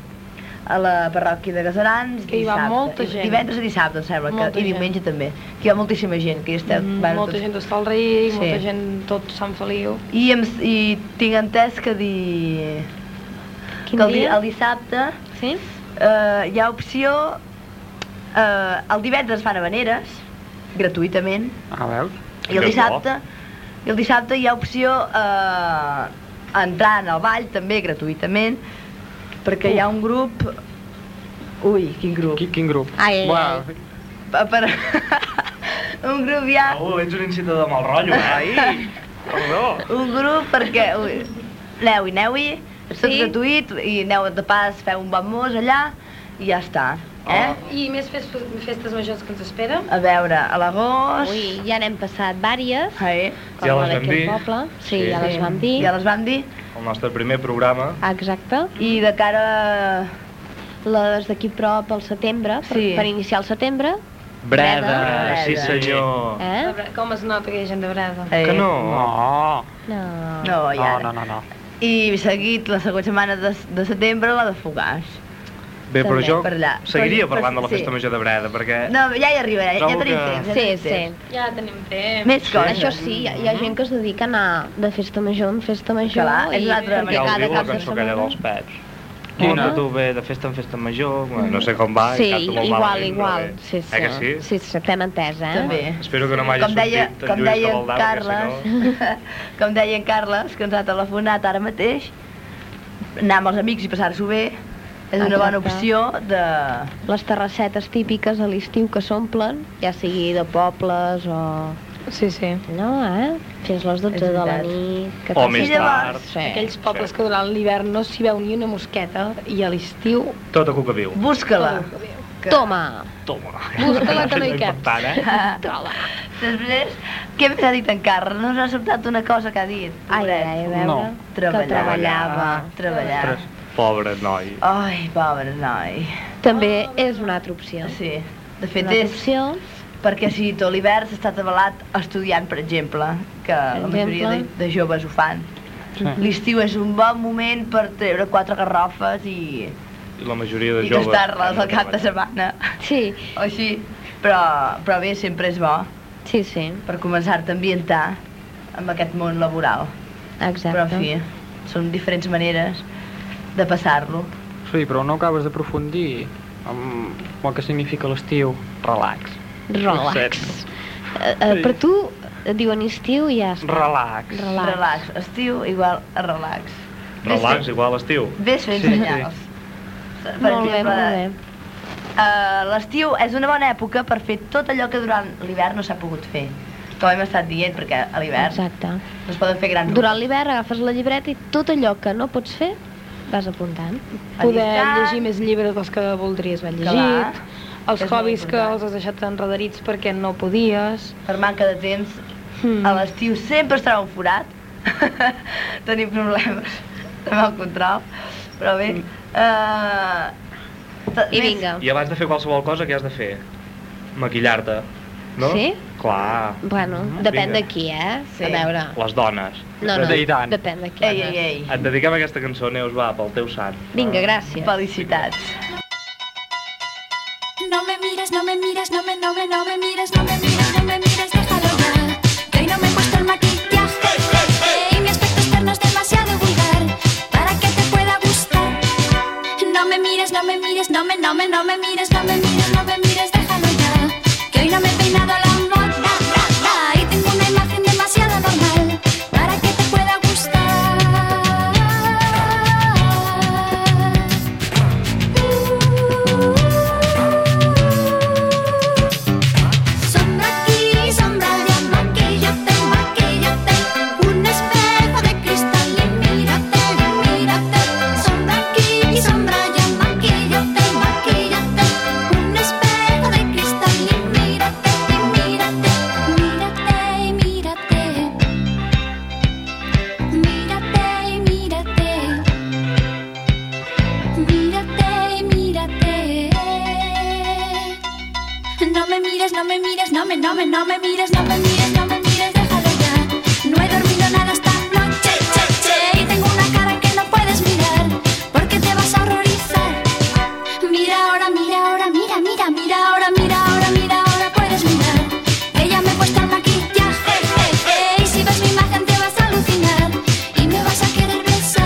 Speaker 3: a la parròquia de Gasarans.
Speaker 6: Que hi va
Speaker 3: dissabte.
Speaker 6: molta gent.
Speaker 3: Divendres i dissabte, em sembla,
Speaker 6: Molta
Speaker 3: que, i
Speaker 6: gent.
Speaker 3: diumenge també. Que hi va moltíssima gent, que hi esteu...
Speaker 6: Mm,
Speaker 3: bueno,
Speaker 6: molta
Speaker 3: tots-
Speaker 6: gent d'Hostalric,
Speaker 3: Sí.
Speaker 6: molta gent tot Sant Feliu.
Speaker 3: I, em, i tinc entès que di...
Speaker 6: Quin
Speaker 3: que el, di-
Speaker 6: dia?
Speaker 3: el dissabte
Speaker 4: sí?
Speaker 3: eh, hi ha opció... Eh, el divendres fan habaneres, gratuïtament,
Speaker 5: A veure.
Speaker 3: i el dissabte, i el dissabte hi ha opció eh, a entrar en el ball, també gratuïtament, perquè hi ha un grup... Ui, quin grup.
Speaker 5: Quin, quin grup?
Speaker 3: Ai,
Speaker 4: Ah,
Speaker 3: ai,
Speaker 5: Uau,
Speaker 3: ai. Pa- Per... un grup hi ha...
Speaker 2: Oh, ets un incitador de mal rotllo, eh? Perdó.
Speaker 3: un grup perquè... Ui, aneu-hi, aneu-hi, és tot
Speaker 6: Sí.
Speaker 3: gratuït i aneu de pas, feu un bon mos allà i ja està.
Speaker 5: Ah.
Speaker 3: Eh?
Speaker 6: I més festes, festes majors que ens esperen.
Speaker 3: A veure, a l'agost...
Speaker 4: Ui, ja n'hem passat vàries.
Speaker 3: Ai.
Speaker 4: Com
Speaker 2: Ja
Speaker 4: la
Speaker 2: les vam
Speaker 4: d'aquí al
Speaker 2: dir.
Speaker 4: poble. Sí,
Speaker 2: Sí.
Speaker 4: ja les vam dir.
Speaker 3: Ja les vam dir.
Speaker 2: El nostre primer programa.
Speaker 4: Exacte.
Speaker 3: I de cara...
Speaker 4: Les d'aquí prop al setembre, per,
Speaker 6: Sí.
Speaker 4: per iniciar el setembre.
Speaker 2: Breda,
Speaker 4: Breda.
Speaker 2: sí senyor.
Speaker 4: Eh?
Speaker 6: Com es nota que hi ha gent de Breda?
Speaker 3: Eh.
Speaker 2: Que no?
Speaker 5: No.
Speaker 4: No.
Speaker 3: No, i
Speaker 5: No,
Speaker 3: ara.
Speaker 5: no, no, no.
Speaker 3: I seguit la següent setmana de, de setembre, la de Fogars.
Speaker 2: Bé, però
Speaker 3: També,
Speaker 2: jo
Speaker 3: per allà.
Speaker 2: seguiria
Speaker 3: Però-
Speaker 2: parlant de la
Speaker 3: sí.
Speaker 2: festa major de Breda, perquè...
Speaker 3: No, ja hi arribarà, ja, ja
Speaker 2: Eh? Trobo
Speaker 3: tenim
Speaker 2: que-
Speaker 3: temps. Ja
Speaker 4: Sí,
Speaker 3: tenim
Speaker 4: sí.
Speaker 3: temps.
Speaker 6: Ja tenim temps.
Speaker 3: Més coses.
Speaker 4: Això sí, hi ha, hi ha gent que es dedica a anar de festa major en festa major.
Speaker 3: Clar, és
Speaker 4: i
Speaker 3: una altra
Speaker 4: perquè
Speaker 3: manera.
Speaker 2: Ja ho
Speaker 4: cada
Speaker 2: diu la
Speaker 4: cap de
Speaker 2: cançó aquella
Speaker 4: setmana...
Speaker 2: dels pets. Quina? Tu ve de festa en festa major, bueno, no sé com va,
Speaker 4: sí,
Speaker 2: i canto molt
Speaker 4: igual,
Speaker 2: malament, però
Speaker 4: igual.
Speaker 2: bé.
Speaker 4: Sí, sí.
Speaker 2: Eh que
Speaker 4: Sí,
Speaker 2: sí?
Speaker 4: sí, t'hem entès, eh?
Speaker 3: També.
Speaker 2: Espero que no m'hagi
Speaker 3: Com deia,
Speaker 2: sortit
Speaker 3: com
Speaker 2: en Lluís
Speaker 3: deia en
Speaker 2: Cabaldà, perquè
Speaker 3: Carles, com deia en Carles, que ens ha telefonat ara mateix, anar amb els amics i passar-s'ho bé és una bona
Speaker 4: Exacte.
Speaker 3: opció de...
Speaker 4: Les terrassetes típiques a l'estiu que s'omplen, ja sigui de pobles o...
Speaker 6: Sí, sí.
Speaker 4: No, eh? Fins les 12 de la nit. Que
Speaker 2: O més
Speaker 6: I llavors,
Speaker 2: tard. Sí.
Speaker 6: aquells pobles que durant l'hivern no s'hi veu ni una mosqueta i a l'estiu...
Speaker 2: no? Tot a cuca viu.
Speaker 3: Busca-la.
Speaker 4: Toma!
Speaker 2: Toma.
Speaker 6: Busca-la que no hi cap.
Speaker 2: Tant, eh?
Speaker 4: Troba!
Speaker 3: Després, què més ha dit en Carles? No us ha sobtat una cosa que ha dit?
Speaker 4: Ai, ai, a veure...
Speaker 2: No.
Speaker 3: Treballava.
Speaker 4: Que treballava.
Speaker 3: Treballava.
Speaker 2: Ostres, pobre noi.
Speaker 3: Ai, pobre noi.
Speaker 4: També és una altra opció.
Speaker 3: Sí. De fet,
Speaker 4: una altra
Speaker 3: és
Speaker 4: opció.
Speaker 3: perquè si tot l'hivern s'està treballat estudiant, per exemple, que la
Speaker 4: Per
Speaker 3: majoria de,
Speaker 4: exemple?
Speaker 3: de joves ho fan.
Speaker 5: Sí.
Speaker 3: L'estiu és un bon moment per treure quatre garrofes i,
Speaker 2: I la majoria de
Speaker 3: i
Speaker 2: joves...
Speaker 3: gastar-les al cap de setmana.
Speaker 4: Sí,
Speaker 3: O així. Però, però bé, sempre és bo
Speaker 4: sí, sí.
Speaker 3: per començar-te a ambientar amb aquest món laboral.
Speaker 4: Exacte.
Speaker 3: Però, en fi, són diferents maneres de passar-lo.
Speaker 5: Sí, però no acabes d'aprofundir en el que significa l'estiu. Relax.
Speaker 4: Relax.
Speaker 5: Set.
Speaker 4: Eh, eh,
Speaker 5: Sí.
Speaker 4: per tu et diuen estiu i ja està.
Speaker 5: Relax.
Speaker 4: Relax.
Speaker 3: Relax. Estiu igual a relax. Vés
Speaker 2: Relax, igual a l'estiu.
Speaker 3: fent- Vés fent
Speaker 5: Sí, sí.
Speaker 3: senyals. Per
Speaker 4: Molt bé,
Speaker 3: exemple,
Speaker 4: molt bé.
Speaker 3: eh, l'estiu és una bona època per fer tot allò que durant l'hivern no s'ha pogut fer. Com hem estat dient, perquè a l'hivern
Speaker 4: Exacte.
Speaker 3: no es poden fer grans
Speaker 4: Durant l'hivern agafes la llibreta i tot allò que no pots fer vas apuntant.
Speaker 6: Poder
Speaker 3: Amistat.
Speaker 6: llegir més llibres dels que voldries haver
Speaker 3: Clar,
Speaker 6: llegit, els
Speaker 3: és molt
Speaker 6: hobbies que
Speaker 3: important.
Speaker 6: els has deixat enredarits perquè no podies...
Speaker 3: per manca de temps.
Speaker 6: Mm.
Speaker 4: Hmm.
Speaker 3: A l'estiu sempre es troba un forat. Tenim problemes amb el control. Però bé... Eh, t-
Speaker 4: Hmm. I
Speaker 3: més-
Speaker 4: vinga.
Speaker 2: I abans de fer qualsevol cosa, què has de fer? Maquillar-te, no?
Speaker 4: Sí?
Speaker 2: Clar.
Speaker 4: Bueno,
Speaker 2: Mm,
Speaker 4: depèn
Speaker 2: vinga.
Speaker 4: de qui, eh?
Speaker 3: Sí.
Speaker 4: A veure.
Speaker 2: Les dones.
Speaker 4: No, no,
Speaker 5: I tant.
Speaker 4: depèn de qui.
Speaker 3: Ei, ei, ei.
Speaker 2: Et dediquem aquesta cançó, Neus, va, pel teu sant.
Speaker 4: Vinga, gràcies.
Speaker 3: Felicitats.
Speaker 13: No me mires, no me mires, no me, no me, no me mires, no me mires, no me mires, déjalo ya. Que hoy no me he puesto el maquillaje y mi aspecto externo es demasiado vulgar para que te pueda gustar. No me mires, no me mires, no me, no me, no me mires, no me mires, no me mires, déjalo ya. Que hoy no me he peinado a la moda y tengo una imagen demasiado normal para que te pueda gustar. Sombra aquí, sombra allá, maquillate, maquillate Un espejo de cristal y mírate, mírate Sombra aquí, sombra allá, maquillate, maquillate Un espejo de cristal y mírate, y mírate Mírate, y mírate Mírate, y mírate Mírate, mírate. No me mires, no me mires, no me, no me, no me mires, no me mires, no me mires, déjalo ya. No he dormido nada esta noche, che, che, y tengo una cara que no puedes mirar, porque te vas a horrorizar. Mira ahora, mira ahora, mira, mira, mira ahora, mira ahora, mira ahora, puedes mirar. Ella me he puesto el maquillaje, eh, eh, y si ves mi imagen te vas a alucinar y me vas a querer besar.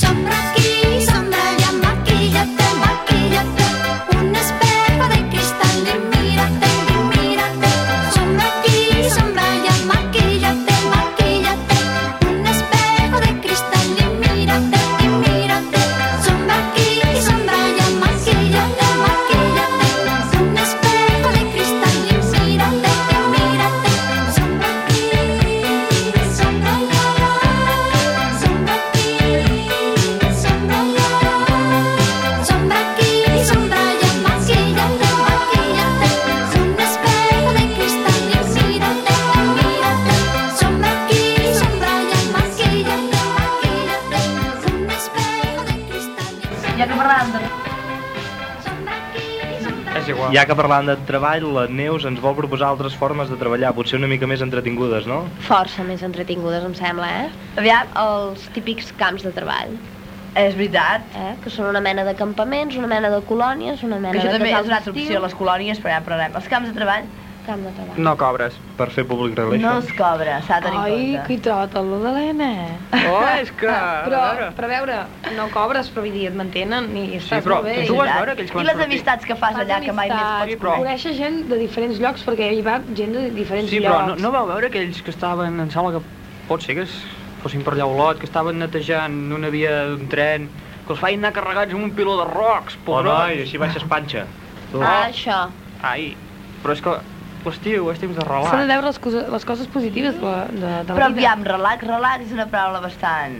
Speaker 13: Sombra aquí, sombra allá, maquillate, maquillate Un espejo de cristal y mírate, y mírate Sombra aquí, sombra allá, maquillate, maquillate Un espejo de cristal y mírate, y mírate Sombra aquí, sombra allá, maquillate, maquillate Un espejo de cristal y mírate, y mírate Sombra aquí, sombra allá, sombra aquí Sombra allá, sombra aquí, sombra allá, maquillate, maquillate Un espejo de cristal y mírate, mírate Sombra aquí, sombra allá, maquillate, maquillate Un espejo de cristal y
Speaker 3: Ja que parlàvem de...
Speaker 13: sombra aquí, sombra
Speaker 5: És igual.
Speaker 2: Ja que parlant de treball, la Neus ens vol proposar altres formes de treballar, potser una mica més entretingudes, no?
Speaker 4: Força més entretingudes, em sembla, eh?
Speaker 3: Aviam,
Speaker 4: Els típics camps de treball,
Speaker 3: és veritat.
Speaker 4: eh? Que són una mena de campaments, una mena de colònies, una
Speaker 3: Que
Speaker 4: mena
Speaker 3: això
Speaker 4: de
Speaker 3: també és
Speaker 4: casals
Speaker 3: una altra opció,
Speaker 4: d'estiu.
Speaker 3: les colònies, però ja en parlarem. Els camps de treball
Speaker 4: Camp de treball.
Speaker 5: No cobres.
Speaker 2: Per fer public
Speaker 3: No es cobra, s'ha de tenir
Speaker 6: Ai,
Speaker 3: en compte.
Speaker 6: que trota, l'Helena.
Speaker 5: Oh, és que...
Speaker 6: Però, però a veure, no cobres, però vull dir, et mantenen i estàs
Speaker 5: però
Speaker 6: molt bé.
Speaker 5: tu vas veure aquells que van
Speaker 3: I les
Speaker 5: sortir.
Speaker 3: amistats que fas allà, que mai més pots
Speaker 6: però... Coneixes gent de diferents llocs, perquè hi va gent de diferents
Speaker 5: Sí, però no,
Speaker 6: llocs.
Speaker 5: no vau veure aquells que estaven, em sembla que pot ser que es, fossin per allà a Olot, que estaven netejant una via d'un tren, que els feien anar carregats amb un piló de rocs,
Speaker 2: Oh,
Speaker 5: pobrets.
Speaker 2: noi, així baixes panxa.
Speaker 4: Ah, això.
Speaker 5: Ai, però és que l'estiu és temps de
Speaker 6: S'ha de
Speaker 5: relat.
Speaker 6: veure les, cosa, les coses positives de, la- de, de la
Speaker 3: Però
Speaker 6: vida.
Speaker 3: aviam, relax, relax és una paraula bastant...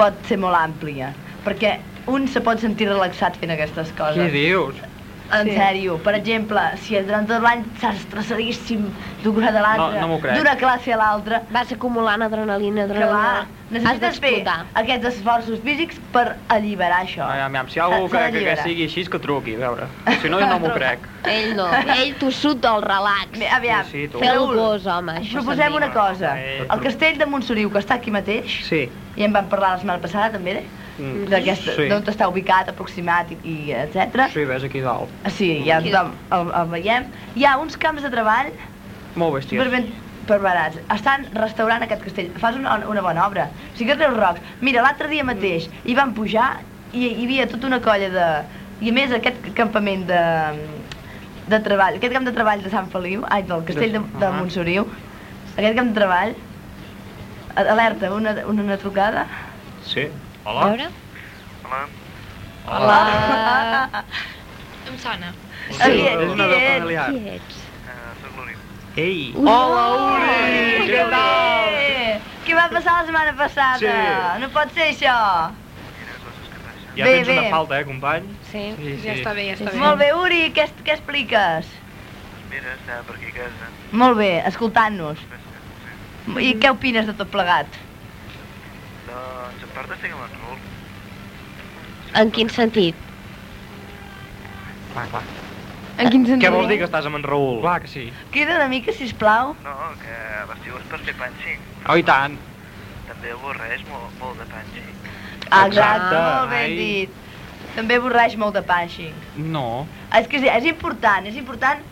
Speaker 3: pot ser molt àmplia, perquè un se pot sentir relaxat fent aquestes coses.
Speaker 5: Què dius?
Speaker 3: En
Speaker 5: Sí.
Speaker 3: sèrio, per exemple, si durant tot l'any estàs estressadíssim d'un costat a l'altre,
Speaker 5: No, no m'ho crec.
Speaker 3: d'una classe a l'altra...
Speaker 4: Vas acumulant adrenalina,
Speaker 3: Clar,
Speaker 4: adrenalina. Has
Speaker 3: necessites fer
Speaker 4: d'explotar.
Speaker 3: aquests esforços físics per alliberar això.
Speaker 5: Aviam, aviam, si hi ha algú
Speaker 3: S'ha
Speaker 5: que,
Speaker 3: de
Speaker 5: que, que
Speaker 3: alliberar.
Speaker 5: sigui així, que truqui, a veure. Si no, jo no m'ho crec.
Speaker 4: Ell no, ell t'ho sut del relax.
Speaker 3: Aviam,
Speaker 5: Sí, sí, tu.
Speaker 4: Feu
Speaker 3: Raül,
Speaker 4: gos, home, això
Speaker 3: Proposem una cosa.
Speaker 5: Eh,
Speaker 3: El castell de Montsoriu, que està aquí mateix,
Speaker 5: Sí.
Speaker 3: i en vam parlar la setmana passada, també, eh?
Speaker 5: Mm.
Speaker 3: d'aquesta,
Speaker 5: Sí.
Speaker 3: d'on està ubicat, aproximat i, i etc.
Speaker 5: Sí, ves aquí dalt.
Speaker 3: Sí, ja tothom el, el veiem. Hi ha uns camps de treball
Speaker 5: Molt bèsties.
Speaker 3: per ben preparats. Estan restaurant aquest castell. Fas una, una bona obra. O sigui que treus rocs. Mira, l'altre dia mateix hi van pujar i hi havia tota una colla de... I a més aquest campament de, de treball, aquest camp de treball de Sant Feliu, ai, del castell de, de Montsoriu, aquest camp de treball, a- alerta, una, una, una trucada.
Speaker 2: Sí.
Speaker 3: Hola. A veure.
Speaker 2: Hola.
Speaker 3: Hola.
Speaker 12: Em sona.
Speaker 3: Sí, Qui ets?
Speaker 5: és una
Speaker 3: Qui
Speaker 5: veu
Speaker 3: ets?
Speaker 5: familiar.
Speaker 3: Qui
Speaker 5: Ei! Hola, Uri! Què tal?
Speaker 3: Eh, Què va passar la setmana passada?
Speaker 2: Sí.
Speaker 3: No pot ser això.
Speaker 2: Ja
Speaker 3: Bé,
Speaker 2: tens una
Speaker 3: bé.
Speaker 2: falta, eh, company?
Speaker 3: Sí,
Speaker 2: Sí, ja sí. està bé,
Speaker 6: ja està bé.
Speaker 3: Molt bé, Uri, què, es- què expliques?
Speaker 9: Mira, estava per aquí a casa.
Speaker 3: Molt bé, escoltant-nos. I què opines de tot plegat?
Speaker 9: Doncs em portes que me'n rol.
Speaker 4: En quin sentit?
Speaker 5: Va, va.
Speaker 3: En quin
Speaker 2: Què vols dir que estàs amb en Raül?
Speaker 5: Clar que sí.
Speaker 3: Queda una mica, sisplau.
Speaker 9: No, que a l'estiu és per fer panxing.
Speaker 5: Oh, i tant.
Speaker 9: També avorreix molt, molt de panxing.
Speaker 3: Exacte, molt ben
Speaker 5: ai.
Speaker 3: dit. També avorreix molt de punching.
Speaker 5: No.
Speaker 3: És que és, és important, és important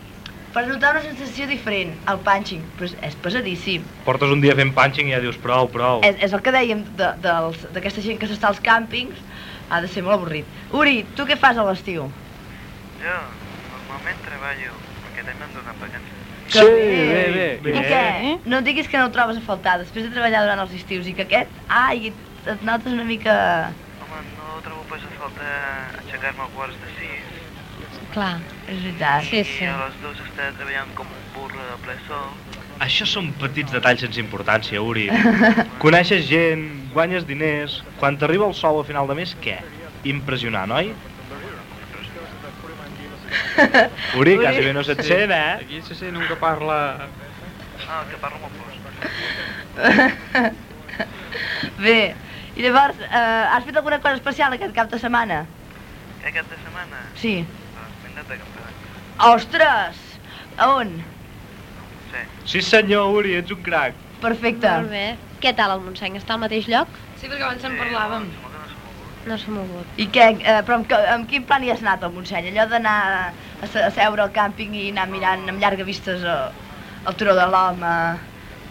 Speaker 3: per notar una sensació diferent, el punching, però és, és pesadíssim.
Speaker 2: Portes un dia fent punching i ja dius prou, prou.
Speaker 3: És, és el que dèiem de- dels- d'aquesta gent que s'està als càmpings, ha de ser molt avorrit. Uri, tu què fas a l'estiu?
Speaker 9: Jo normalment treballo, perquè també em donen vacances.
Speaker 3: Que bé.
Speaker 2: bé.
Speaker 3: I què? No em diguis que no ho trobes a faltar després de treballar durant els estius i que aquest, ai, et notes una mica...
Speaker 9: Home, no trobo pas a falta aixecar-me a quarts de sis.
Speaker 3: Clar, és veritat.
Speaker 9: I a les dues estava treballant com un burro de ple sol.
Speaker 2: Això són petits detalls sense importància, Uri. Coneixes gent, guanyes diners... Quan t'arriba el sou a final de mes, què? Impressionant, oi? Uri, quasi bé no se't sent, eh?
Speaker 5: Aquí se sent un que parla...
Speaker 9: Ah, que parlo molt fort.
Speaker 3: Bé, i llavors, eh, has fet alguna cosa especial aquest cap de setmana?
Speaker 9: Aquest cap de setmana?
Speaker 3: Sí.
Speaker 9: Doncs m'he anat a campanar.
Speaker 3: Ostres! A on?
Speaker 9: Sí.
Speaker 2: Sí senyor, Uri, ets un crac.
Speaker 3: Perfecte.
Speaker 4: Molt bé. Què tal el Montseny? Està al mateix lloc?
Speaker 6: Sí, perquè abans en parlàvem.
Speaker 4: No s'ha mogut.
Speaker 3: I què, eh, però amb, que- amb quin plan hi has anat al Montseny? Allò d'anar a, se- a seure al càmping i anar mirant amb llarga vistes eh, el turó de l'home,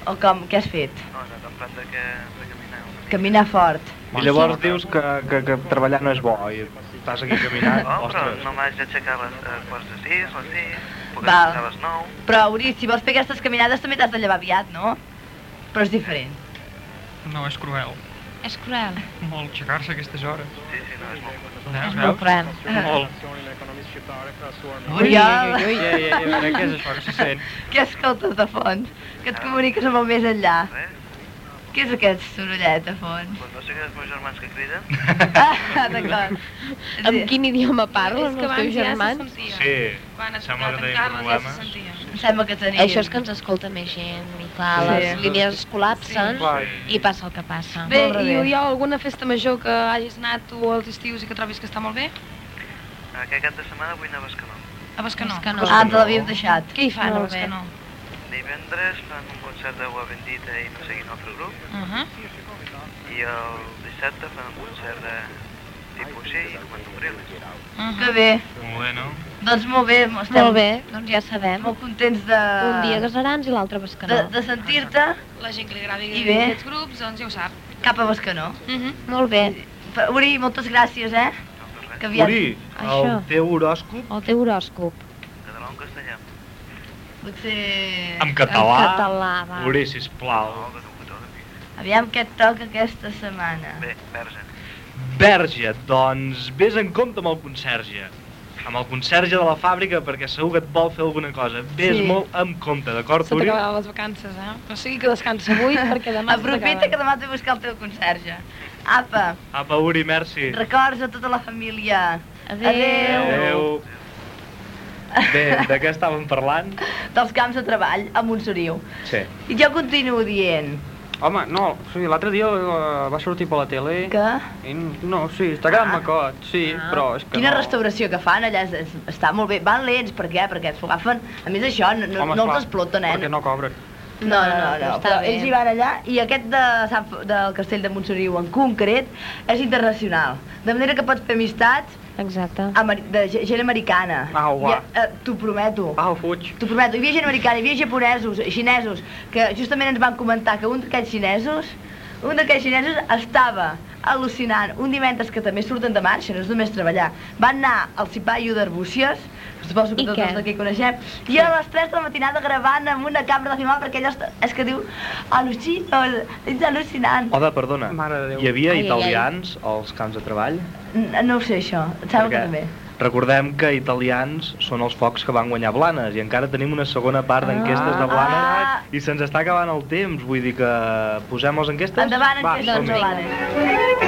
Speaker 3: o com, què has fet?
Speaker 9: No, he anat en plan de que... De caminar.
Speaker 3: Caminar fort.
Speaker 2: I llavors dius que, que, que treballar no és bo i estàs aquí caminant.
Speaker 9: No, però
Speaker 2: Ostres.
Speaker 9: no m'haig d'aixecar a les eh, quarts de sis, a les sis, puc
Speaker 3: Val.
Speaker 9: estar a les nou.
Speaker 3: Però, Uri, si vols fer aquestes caminades també t'has de llevar aviat, no? Però és diferent.
Speaker 5: No, és cruel.
Speaker 12: És cruel.
Speaker 5: Molt aixecar-se a aquestes hores.
Speaker 9: Sí, sí, no, és molt fort.
Speaker 5: No,
Speaker 12: És molt cruel.
Speaker 5: Molt.
Speaker 3: Ui, ui, ui.
Speaker 5: Ei, ei, ei, a veure, què és això que se sent?
Speaker 3: Què escoltes de fons?
Speaker 9: Ah.
Speaker 3: Que et comuniques amb el més enllà. Què és aquest sorollet de fons?
Speaker 9: Doncs Eh? no sé què els meus germans que criden.
Speaker 3: Ah, d'acord.
Speaker 4: Amb quin idioma parlen
Speaker 12: És que
Speaker 4: els teus
Speaker 12: abans ja se
Speaker 4: germans?
Speaker 12: sentia.
Speaker 2: Sí,
Speaker 12: Quan es
Speaker 2: sembla que
Speaker 12: tocava
Speaker 2: tenim
Speaker 12: tancar-les ja se
Speaker 2: problemes.
Speaker 12: sentia.
Speaker 3: Em sembla que tenim.
Speaker 4: Això és que ens escolta més gent i clar,
Speaker 6: Sí.
Speaker 4: les línies es col·lapsen
Speaker 6: Sí. Clar.
Speaker 4: i passa el que passa.
Speaker 6: Bé, i Oriol, alguna festa major que hagis anat tu als estius i que trobis que està molt bé?
Speaker 9: Aquest cap de setmana vull anar a Bescanó.
Speaker 12: A Bescanó.
Speaker 3: Bescanó. Ah, te l'havíem deixat.
Speaker 12: Què hi fan a
Speaker 3: Molt bé.
Speaker 12: Bescanó?
Speaker 9: Divendres fan un concert de Gua Bendita i no sé quin altre grup.
Speaker 12: Uh -huh.
Speaker 9: I el dissabte fan un concert de
Speaker 14: tipus sí, com a Cambrils.
Speaker 3: Que bé.
Speaker 14: Bueno.
Speaker 3: Doncs molt bé, estem
Speaker 4: Molt bé,
Speaker 3: doncs ja sabem. Molt contents de...
Speaker 4: Un dia Gasarans i l'altre Bescanó.
Speaker 3: de, de sentir-te
Speaker 15: La gent que li agradi
Speaker 3: I bé.
Speaker 15: aquests grups, doncs ja ho sap.
Speaker 3: cap a Bescanó.
Speaker 15: Mm -hmm.
Speaker 3: Molt bé. Uri, moltes gràcies, eh? Que aviat-
Speaker 16: Uri, el
Speaker 3: Això.
Speaker 16: teu horòscop
Speaker 4: El teu horòscop.
Speaker 14: Català o en castellà?
Speaker 3: Potser...
Speaker 16: en català.
Speaker 3: En català, va.
Speaker 16: Uri, sisplau.
Speaker 3: Aviam què et toca aquesta setmana.
Speaker 14: Bé, verge.
Speaker 16: Verge, doncs vés en compte amb el conserge. Amb el conserge de la fàbrica perquè segur que et vol fer alguna cosa. Vés
Speaker 6: Sí.
Speaker 16: molt amb compte, d'acord,
Speaker 6: Se
Speaker 16: Uri?
Speaker 6: t'acabaran les vacances, eh? O sigui que descansa avui perquè demà se
Speaker 3: Aprofita
Speaker 6: t'acabaran.
Speaker 3: que demà t'he buscar el teu conserge. Apa,
Speaker 16: Apa, Uri, merci.
Speaker 3: records a tota la família. Adéu.
Speaker 16: Adéu. Bé, de què estàvem parlant?
Speaker 3: Dels camps de treball a Montsoriu.
Speaker 16: Sí.
Speaker 3: I jo continuo dient
Speaker 5: Home, no, o sigui, l'altre dia eh, va sortir per la tele...
Speaker 3: que...
Speaker 5: I no, sí, està quedant macot, sí, però és que
Speaker 3: Quina
Speaker 5: no.
Speaker 3: restauració que fan allà, és, és, està molt bé. Van lents, per què? Perquè s'ho agafen... A més això, no, no,
Speaker 5: Home,
Speaker 3: no
Speaker 5: esclar,
Speaker 3: els exploten, eh?
Speaker 5: Perquè no cobren.
Speaker 3: No, no, no, no,
Speaker 4: Està
Speaker 3: però
Speaker 4: bé.
Speaker 3: ells hi van allà i aquest de Sant, F- del castell de Montsoriu en concret és internacional. De manera que pots fer amistats
Speaker 4: Exacte.
Speaker 3: ameri de ge- gent americana.
Speaker 5: Au, va.
Speaker 3: Hi ha- eh, T'ho prometo.
Speaker 5: Au, fuig.
Speaker 3: T'ho prometo, hi havia gent americana, hi havia japonesos, xinesos, que justament ens van comentar que un d'aquests xinesos, un d'aquests xinesos estava al·lucinant un divendres que també surten de marxa, no és només treballar. Van anar al Cipaio d'Arbúcies, suposo que
Speaker 4: I
Speaker 3: tots
Speaker 4: què?
Speaker 3: els d'aquí coneixem, i a les 3 de la matinada gravant amb una càmera de filmar perquè allò està- és que diu al·lucino, és al·lucinant.
Speaker 2: Oda, perdona, hi havia
Speaker 3: Ai, ai, ai.
Speaker 2: italians als camps de treball?
Speaker 3: N- No ho sé això, et sembla que
Speaker 2: Perquè-
Speaker 3: també.
Speaker 2: Recordem que italians són els focs que van guanyar Blanes i encara tenim una segona part d'enquestes
Speaker 3: Ah.
Speaker 2: de Blanes i se'ns està acabant el temps, vull dir que posem les enquestes?
Speaker 3: Endavant,
Speaker 2: doncs, Va,
Speaker 3: en què
Speaker 2: som-hi.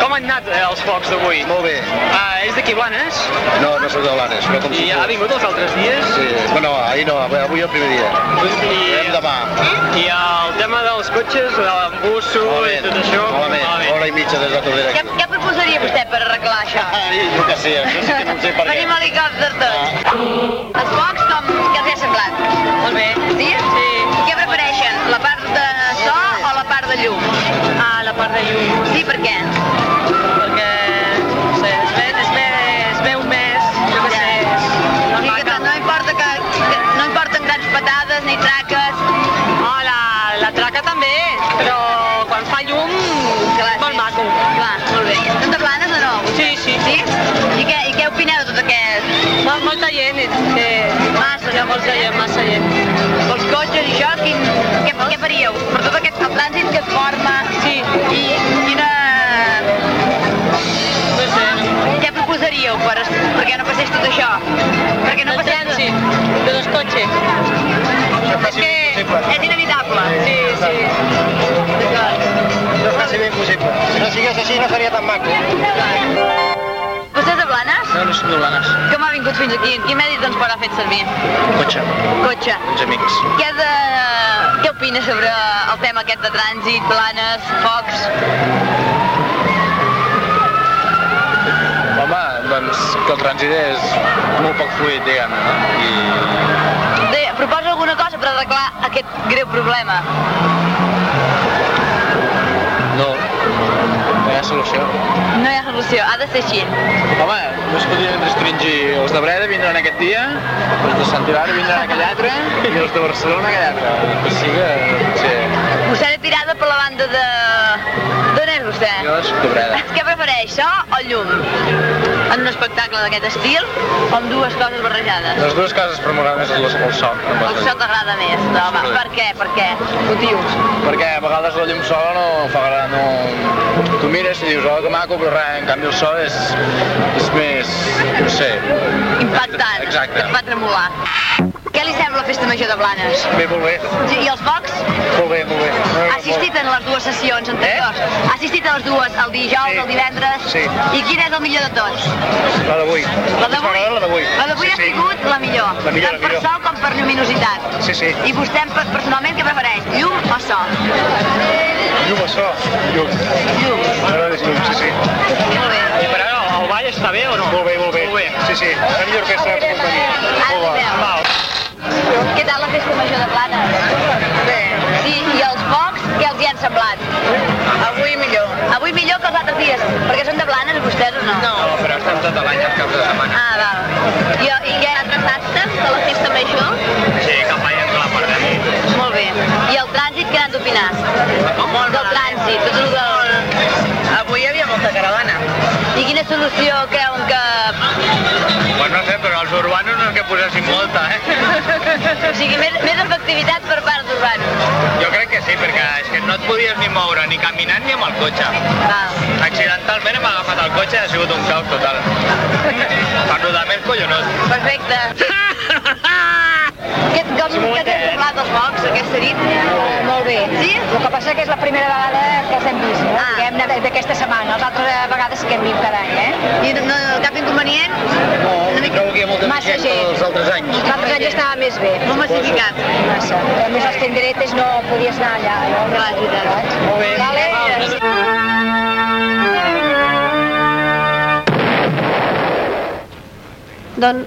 Speaker 9: Com han anat eh, els focs d'avui?
Speaker 8: Molt bé.
Speaker 9: Ah, és d'aquí Blanes?
Speaker 8: No, no sóc de Blanes, però com si
Speaker 9: I ha vingut els altres dies?
Speaker 8: Sí, bueno, ahir no, avui avui el primer dia.
Speaker 9: I,
Speaker 8: Demà.
Speaker 9: I el tema dels cotxes, de l'embusso i tot això...
Speaker 8: Malament, hora i mitja des de Tordera.
Speaker 7: Què, què proposaria vostè per arreglar això?
Speaker 8: Ai, Ah, jo que sé, això sí que no ho sé Ah. per què.
Speaker 7: Tenim helicòpter tots. Els focs com que els he semblat. Molt bé. Sí? Sí. Què prefereixen? La part de so o la part de llum? Ah, la part de llum. Sí, per què? Perquè sé, es, ve, es, ve, es veu més, jo què sé. No, sí, que no importa que, que no importen grans patades ni traques. Oh, la, la traca també, però quan fa llum, Clar, molt maco. Clar, molt bé. Tot de planes o no? Sí, sí. Sí? I què, i què opineu de tot aquest? Molt, molta gent. Que... Massa, no, molta gent, massa gent. Els cotxes i això, quin, què, què faríeu? Per tot aquest el trànsit que es forma? Sí. I quina... No sé. Què proposaríeu per, es- perquè no passés tot això? Perquè no passés... Trànsit, de los cotxes. És que és inevitable. Sí, sí.
Speaker 8: No és quasi ben possible. Si no sigués així no seria tan maco.
Speaker 7: Vostè és de Blanes?
Speaker 9: No, no són Blanes.
Speaker 7: Com ha vingut fins aquí? Quin mèrit doncs pot ha fet servir?
Speaker 9: Cotxe,
Speaker 7: Cotxe.
Speaker 9: uns amics.
Speaker 7: Què, de... Què opines sobre el tema aquest de trànsit, planes, focs?
Speaker 9: Home, doncs que el trànsit és molt poc fluid, diguem, no?
Speaker 7: De... Proposa alguna cosa per arreglar aquest greu problema?
Speaker 9: I no, no hi ha solució.
Speaker 7: No hi ha solució, ha de ser així.
Speaker 9: Home, no es podrien restringir. Els de Breda vindran aquest dia, els de Sant Hilari vindran aquell altre, i els de Barcelona aquell altre. Doncs Sí que... Sí.
Speaker 7: Vostè era tirada per la banda de... D'on és vostè?
Speaker 9: Jo soc de Breda.
Speaker 7: Què prefereix, so o llum? En un espectacle d'aquest estil o amb dues coses barrejades?
Speaker 9: Les dues cases per m'agrada més el, el soc. em
Speaker 7: El
Speaker 9: passa.
Speaker 7: so t'agrada més, no, home. Per què, per què? Motius.
Speaker 9: Perquè a vegades la llum sola no fa gra- no... Tu mires i dius, oh, que maco, però res, en canvi el sol és, és més, no sé,
Speaker 7: Impactant,
Speaker 9: Exacte.
Speaker 7: que et fa tremolar. Què li sembla la festa major de Blanes?
Speaker 9: Bé, molt bé.
Speaker 7: I els focs?
Speaker 9: Molt bé, molt bé. No,
Speaker 7: Ha assistit en les dues sessions anteriors? Ha assistit a les dues, el dijous, el divendres?
Speaker 9: Eh? Sí.
Speaker 7: I quin és el millor de tots?
Speaker 9: La d'avui.
Speaker 7: La d'avui?
Speaker 9: La d'avui.
Speaker 7: La d'avui ha sigut la millor,
Speaker 9: La millor,
Speaker 7: tant
Speaker 9: la
Speaker 7: per
Speaker 9: millor.
Speaker 7: sol com per lluminositat.
Speaker 9: Sí, sí.
Speaker 7: I vostè per- personalment què prefereix? Llum o sol?
Speaker 9: Llum, això. Llum. Llum. M'agrada més llum, sí, sí. I per ara, el ball està bé o no? Molt bé, molt bé. Molt bé. Sí, sí. La millor orquestra que puc tenir. Molt bé.
Speaker 7: Què tal la festa major de Planes? Bé. Sí, i els focs, què els hi han semblat? Avui millor. Avui millor que els altres dies, perquè són de Planes vostès o no? No.
Speaker 9: No, però estem tot l'any els caps de setmana.
Speaker 7: Ah, va. I, i hi ha altres actes de la festa major?
Speaker 9: Sí, cap allà ens la perdem.
Speaker 7: Molt bé. I el trànsit, què n'han d'opinar? Molt Del trànsit, tot el que... Avui hi havia molta caravana. I quina solució creuen que...
Speaker 9: Pues no sé, però els urbanos no és que posessin molta, eh?
Speaker 7: O sigui, més, més efectivitat per part d'urbanos.
Speaker 9: Jo crec que sí, perquè és que no et podies ni moure, ni caminant, ni amb el cotxe. Accidentalment hem agafat el cotxe i ha sigut un caos total. Perdudament collonós.
Speaker 7: Perfecte. Què, com, què t'ha semblat els mocs aquesta nit? Molt bé. Sí?
Speaker 17: El que passa que és la primera vegada que els hem vist, no? Ah. Diguem, d'aquesta setmana. Les altres eh, vegades que hem vist cada any, eh?
Speaker 7: I no, cap inconvenient?
Speaker 17: No,
Speaker 9: no trobo que hi ha molta
Speaker 17: Massa
Speaker 9: gent
Speaker 17: gent.
Speaker 9: dels altres anys.
Speaker 17: Els altres anys estava més bé.
Speaker 9: Molt massificat.
Speaker 17: Massa. A més, les tenderetes no podies anar allà. No? Clar, Molt bé. Vale.
Speaker 3: Doncs
Speaker 4: Don...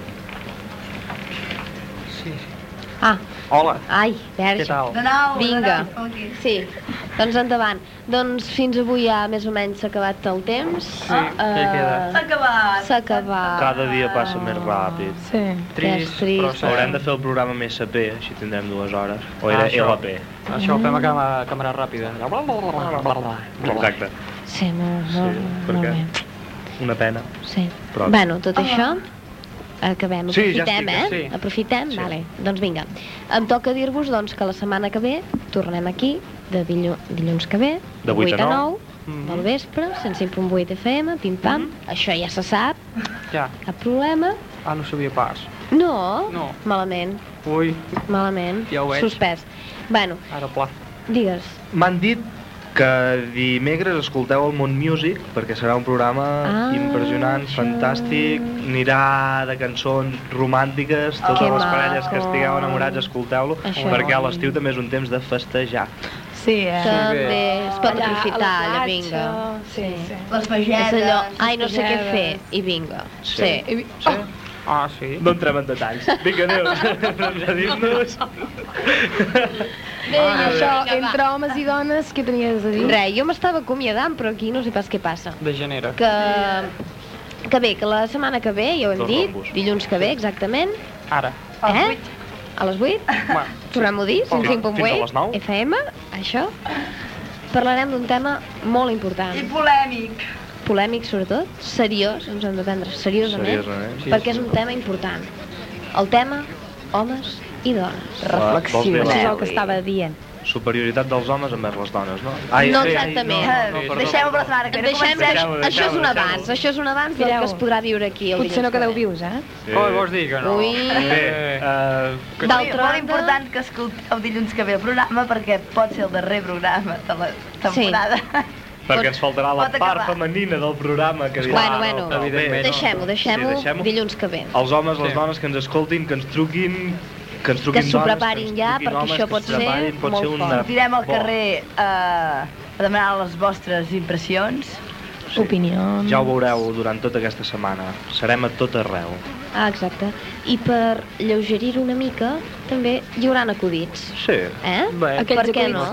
Speaker 5: Sí.
Speaker 4: Ah,
Speaker 5: Hola.
Speaker 4: ai, verge.
Speaker 5: Què tal?
Speaker 7: De nou, de
Speaker 4: Vinga.
Speaker 7: nou, escolti.
Speaker 4: Sí, doncs endavant. Doncs fins avui ja més o menys s'ha acabat el temps. Sí,
Speaker 2: què queda?
Speaker 7: S'ha acabat.
Speaker 4: S'ha acabat.
Speaker 2: Cada dia passa més ràpid.
Speaker 3: Sí.
Speaker 4: Trist, trist. però sí.
Speaker 2: Haurem de fer el programa més CP, així tindrem dues hores. O
Speaker 5: Ah,
Speaker 2: era
Speaker 5: això.
Speaker 2: LP.
Speaker 5: Això ho fem a càmera, càmera ràpida. Bla, bla, bla, bla, bla, bla, bla.
Speaker 2: Exacte.
Speaker 4: Sí, molt, molt, sí, molt
Speaker 2: Perquè...
Speaker 4: bé.
Speaker 2: Una pena.
Speaker 4: Sí.
Speaker 2: Però-
Speaker 4: Bueno, tot
Speaker 2: Ah.
Speaker 4: això, acabem,
Speaker 2: Sí, ja
Speaker 4: aprofitem,
Speaker 2: estic,
Speaker 4: eh?
Speaker 2: sí.
Speaker 4: Aprofitem, sí. vale. Doncs vinga, em toca dir-vos doncs, que la setmana que ve tornem aquí, de dillu dilluns que ve,
Speaker 2: De vuit a nou. Mhm.
Speaker 4: Mm -hmm. del vespre, 105.8 FM, pim-pam, això ja se sap,
Speaker 5: Ja.
Speaker 4: cap problema.
Speaker 5: Ah, no sabia pas.
Speaker 4: No,
Speaker 5: No.
Speaker 4: malament,
Speaker 5: Ui,
Speaker 4: malament,
Speaker 5: Ja ho veig.
Speaker 4: suspès. Bueno,
Speaker 5: ara pla.
Speaker 4: digues,
Speaker 2: M'han dit que dimecres escolteu el Mont Music perquè serà un programa
Speaker 4: Ah,
Speaker 2: impressionant, fantàstic, anirà de cançons romàntiques, totes
Speaker 4: Que
Speaker 2: les
Speaker 4: maco.
Speaker 2: parelles que estigueu enamorats escolteu-lo,
Speaker 4: Això.
Speaker 2: perquè a l'estiu també és un temps de festejar.
Speaker 3: Sí, eh?
Speaker 4: també es pot
Speaker 3: Allà, a la
Speaker 4: aprofitar, allà,
Speaker 3: platja,
Speaker 4: vinga.
Speaker 3: Sí, sí. Les
Speaker 4: és allò, ai, no
Speaker 3: les
Speaker 4: sé què fer,
Speaker 3: vegedes.
Speaker 4: i vinga,
Speaker 2: Sí.
Speaker 4: sí.
Speaker 3: I-
Speaker 5: Ah, sí?
Speaker 2: No entrem en detalls. Vinga, adéu. Doncs Adéu-nos.
Speaker 3: Bé, i
Speaker 4: Ah,
Speaker 3: això,
Speaker 4: vinga, va.
Speaker 3: entre homes i dones, què tenies a dir?
Speaker 4: Re, jo m'estava acomiadant, però aquí no sé pas què passa.
Speaker 5: Degenera.
Speaker 4: Que, que bé, que la setmana que ve, ja ho hem
Speaker 5: Dos
Speaker 4: dit,
Speaker 5: rombos.
Speaker 4: dilluns que ve, exactament,
Speaker 5: Ara.
Speaker 4: eh? A les 8?
Speaker 5: Bueno,
Speaker 4: Tornem-ho a dir,
Speaker 5: Fins- fins a les
Speaker 4: 105.8,
Speaker 5: nou.
Speaker 4: FM, això. Parlarem d'un tema molt important.
Speaker 3: I polèmic.
Speaker 4: Polèmic, sobretot, seriós, ens hem d'atendre seriosament,
Speaker 2: Seriosament, sí,
Speaker 4: perquè
Speaker 2: sí.
Speaker 4: és un tema important. El tema, homes i dones.
Speaker 2: Vols dir
Speaker 3: Això és
Speaker 2: la
Speaker 3: el que estava dient.
Speaker 2: superioritat dels homes envers les dones, no?
Speaker 4: no exactament.
Speaker 3: Deixem-ho per la setmana que ve.
Speaker 4: Deixem,
Speaker 3: Comencem.
Speaker 4: això, això és un
Speaker 3: Deixem-ho,
Speaker 4: abans, això és un abans del
Speaker 3: Mireu.
Speaker 4: que es podrà viure aquí el
Speaker 3: Potser no
Speaker 4: dilluns que
Speaker 3: quedeu
Speaker 4: ve.
Speaker 3: vius, eh?
Speaker 5: Sí. Com vols dir que no?
Speaker 4: Ui.
Speaker 2: Bé, eh, que-
Speaker 4: D'altra
Speaker 3: Molt
Speaker 4: banda-
Speaker 3: important que escolteu dilluns que ve el programa perquè pot ser el darrer programa de la temporada.
Speaker 2: perquè ens faltarà la
Speaker 3: pot
Speaker 2: part
Speaker 3: acabar.
Speaker 2: femenina del programa que dirà.
Speaker 4: Bueno, bueno,
Speaker 2: Però bé, no.
Speaker 4: deixem-ho, deixem-ho
Speaker 2: Sí, deixem-ho.
Speaker 4: dilluns que ve.
Speaker 2: Els homes, les dones que ens escoltin, que ens truquin, que ens
Speaker 4: Que
Speaker 2: truquin
Speaker 4: s'ho
Speaker 2: dones,
Speaker 4: preparin ja,
Speaker 2: truquin
Speaker 4: perquè
Speaker 2: homes,
Speaker 4: això
Speaker 2: que
Speaker 4: pot
Speaker 2: s'ho
Speaker 4: ser
Speaker 2: preparin, pot ser
Speaker 4: molt
Speaker 2: una
Speaker 4: fort.
Speaker 3: Sortirem al
Speaker 2: bo-
Speaker 3: carrer eh, a demanar les vostres impressions, opinions...
Speaker 2: Ja ho veureu durant tota aquesta setmana. Serem a tot arreu.
Speaker 4: Ah, exacte. I per lleugerir una mica, també hi haurà acudits.
Speaker 2: Sí.
Speaker 4: Eh?
Speaker 5: Bé.
Speaker 4: per què no?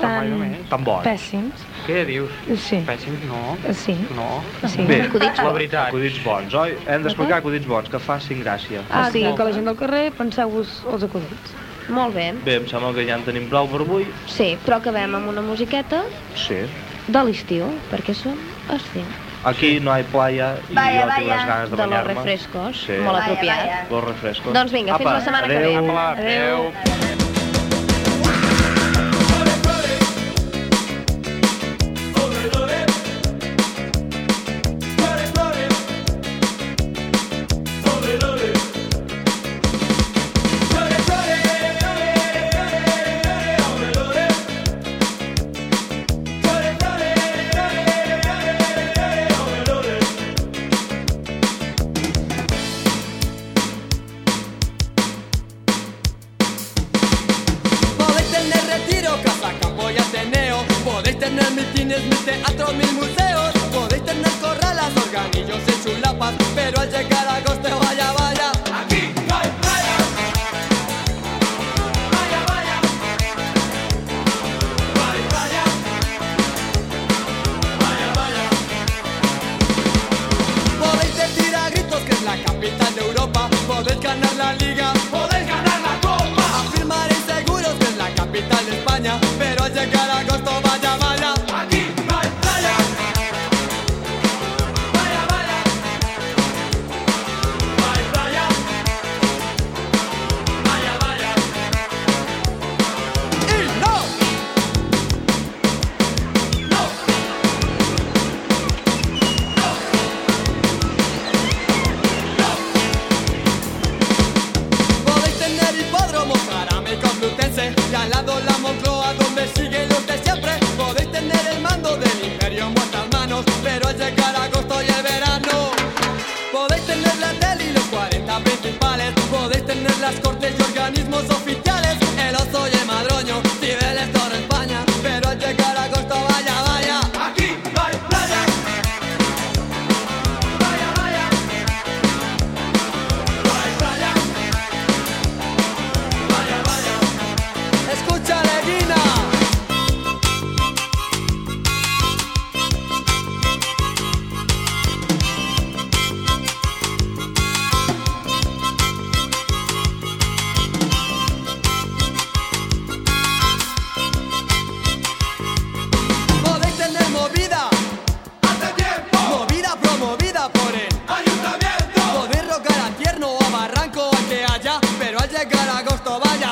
Speaker 2: Tan bons.
Speaker 3: pèssims.
Speaker 5: Què dius?
Speaker 3: Sí.
Speaker 5: Pèssims, no.
Speaker 4: Ah,
Speaker 3: Sí.
Speaker 5: No.
Speaker 3: Sí.
Speaker 2: Bé,
Speaker 3: Acudits
Speaker 2: la
Speaker 3: bons.
Speaker 2: veritat. Acudits bons, oi? Hem d'explicar acudits bons, que facin gràcia.
Speaker 3: Ah, o sigui, que la gent del carrer penseu-vos els acudits.
Speaker 4: Molt bé.
Speaker 2: Bé, em sembla que ja en tenim prou per avui.
Speaker 4: Sí, però acabem amb una musiqueta
Speaker 2: Sí.
Speaker 4: de l'estiu, perquè som estiu.
Speaker 2: Aquí no hi ha playa i
Speaker 4: Vaya,
Speaker 2: jo tinc
Speaker 4: vaya.
Speaker 2: les ganes
Speaker 4: De
Speaker 2: de
Speaker 4: los
Speaker 2: banyar-me.
Speaker 4: refrescos, molt Vaya, apropiat. vaya.
Speaker 2: Los refrescos.
Speaker 4: Doncs vinga, fins
Speaker 2: Apa,
Speaker 4: la setmana que
Speaker 2: adeu.
Speaker 4: ve.
Speaker 2: Apa,
Speaker 4: Adeu.
Speaker 2: adeu.
Speaker 12: Podéis tener retiro, casa, campo y ateneo. Podéis
Speaker 18: Podéis tener mis cines, mis teatros, mis museos. Podéis tener corralas, organillos y chulapas. Pero al llegar a agosto, vaya, vaya. Aquí no hay playa. Vaya, vaya. Vaya, vaya. Vaya, vaya. Podéis decir a gritos que es la capital de Europa. Podéis ganar la liga. Podéis ganar la copa. Afirmaréis seguros que es la capital de España. Pero al llegar a agosto, vaya, vaya. Aquí no hay playa. Vaya, vaya. Vaya, vaya. Vaya, vaya. Y no. No. Podéis tener hipódromos, con Complutense Y al lado la Moncloa donde siguen los de siempre Podéis tener el mando del imperio en vuestras manos Pero al llegar agosto y el verano Podéis tener la tele y los 40 principales Podéis tener las cortes y organismos oficiales El oso y el madroño, Cibeles, Torre España Pero al llegar agosto vaya, vaya Aquí no hay playa Vaya, vaya No hay playa Vaya, vaya. Escucha, Leguina. Podéis tener movida. Hace tiempo. Movida promovida por el ayuntamiento. Podéis rogar a tierno o a barranco a que haya, pero al llegar agosto vaya,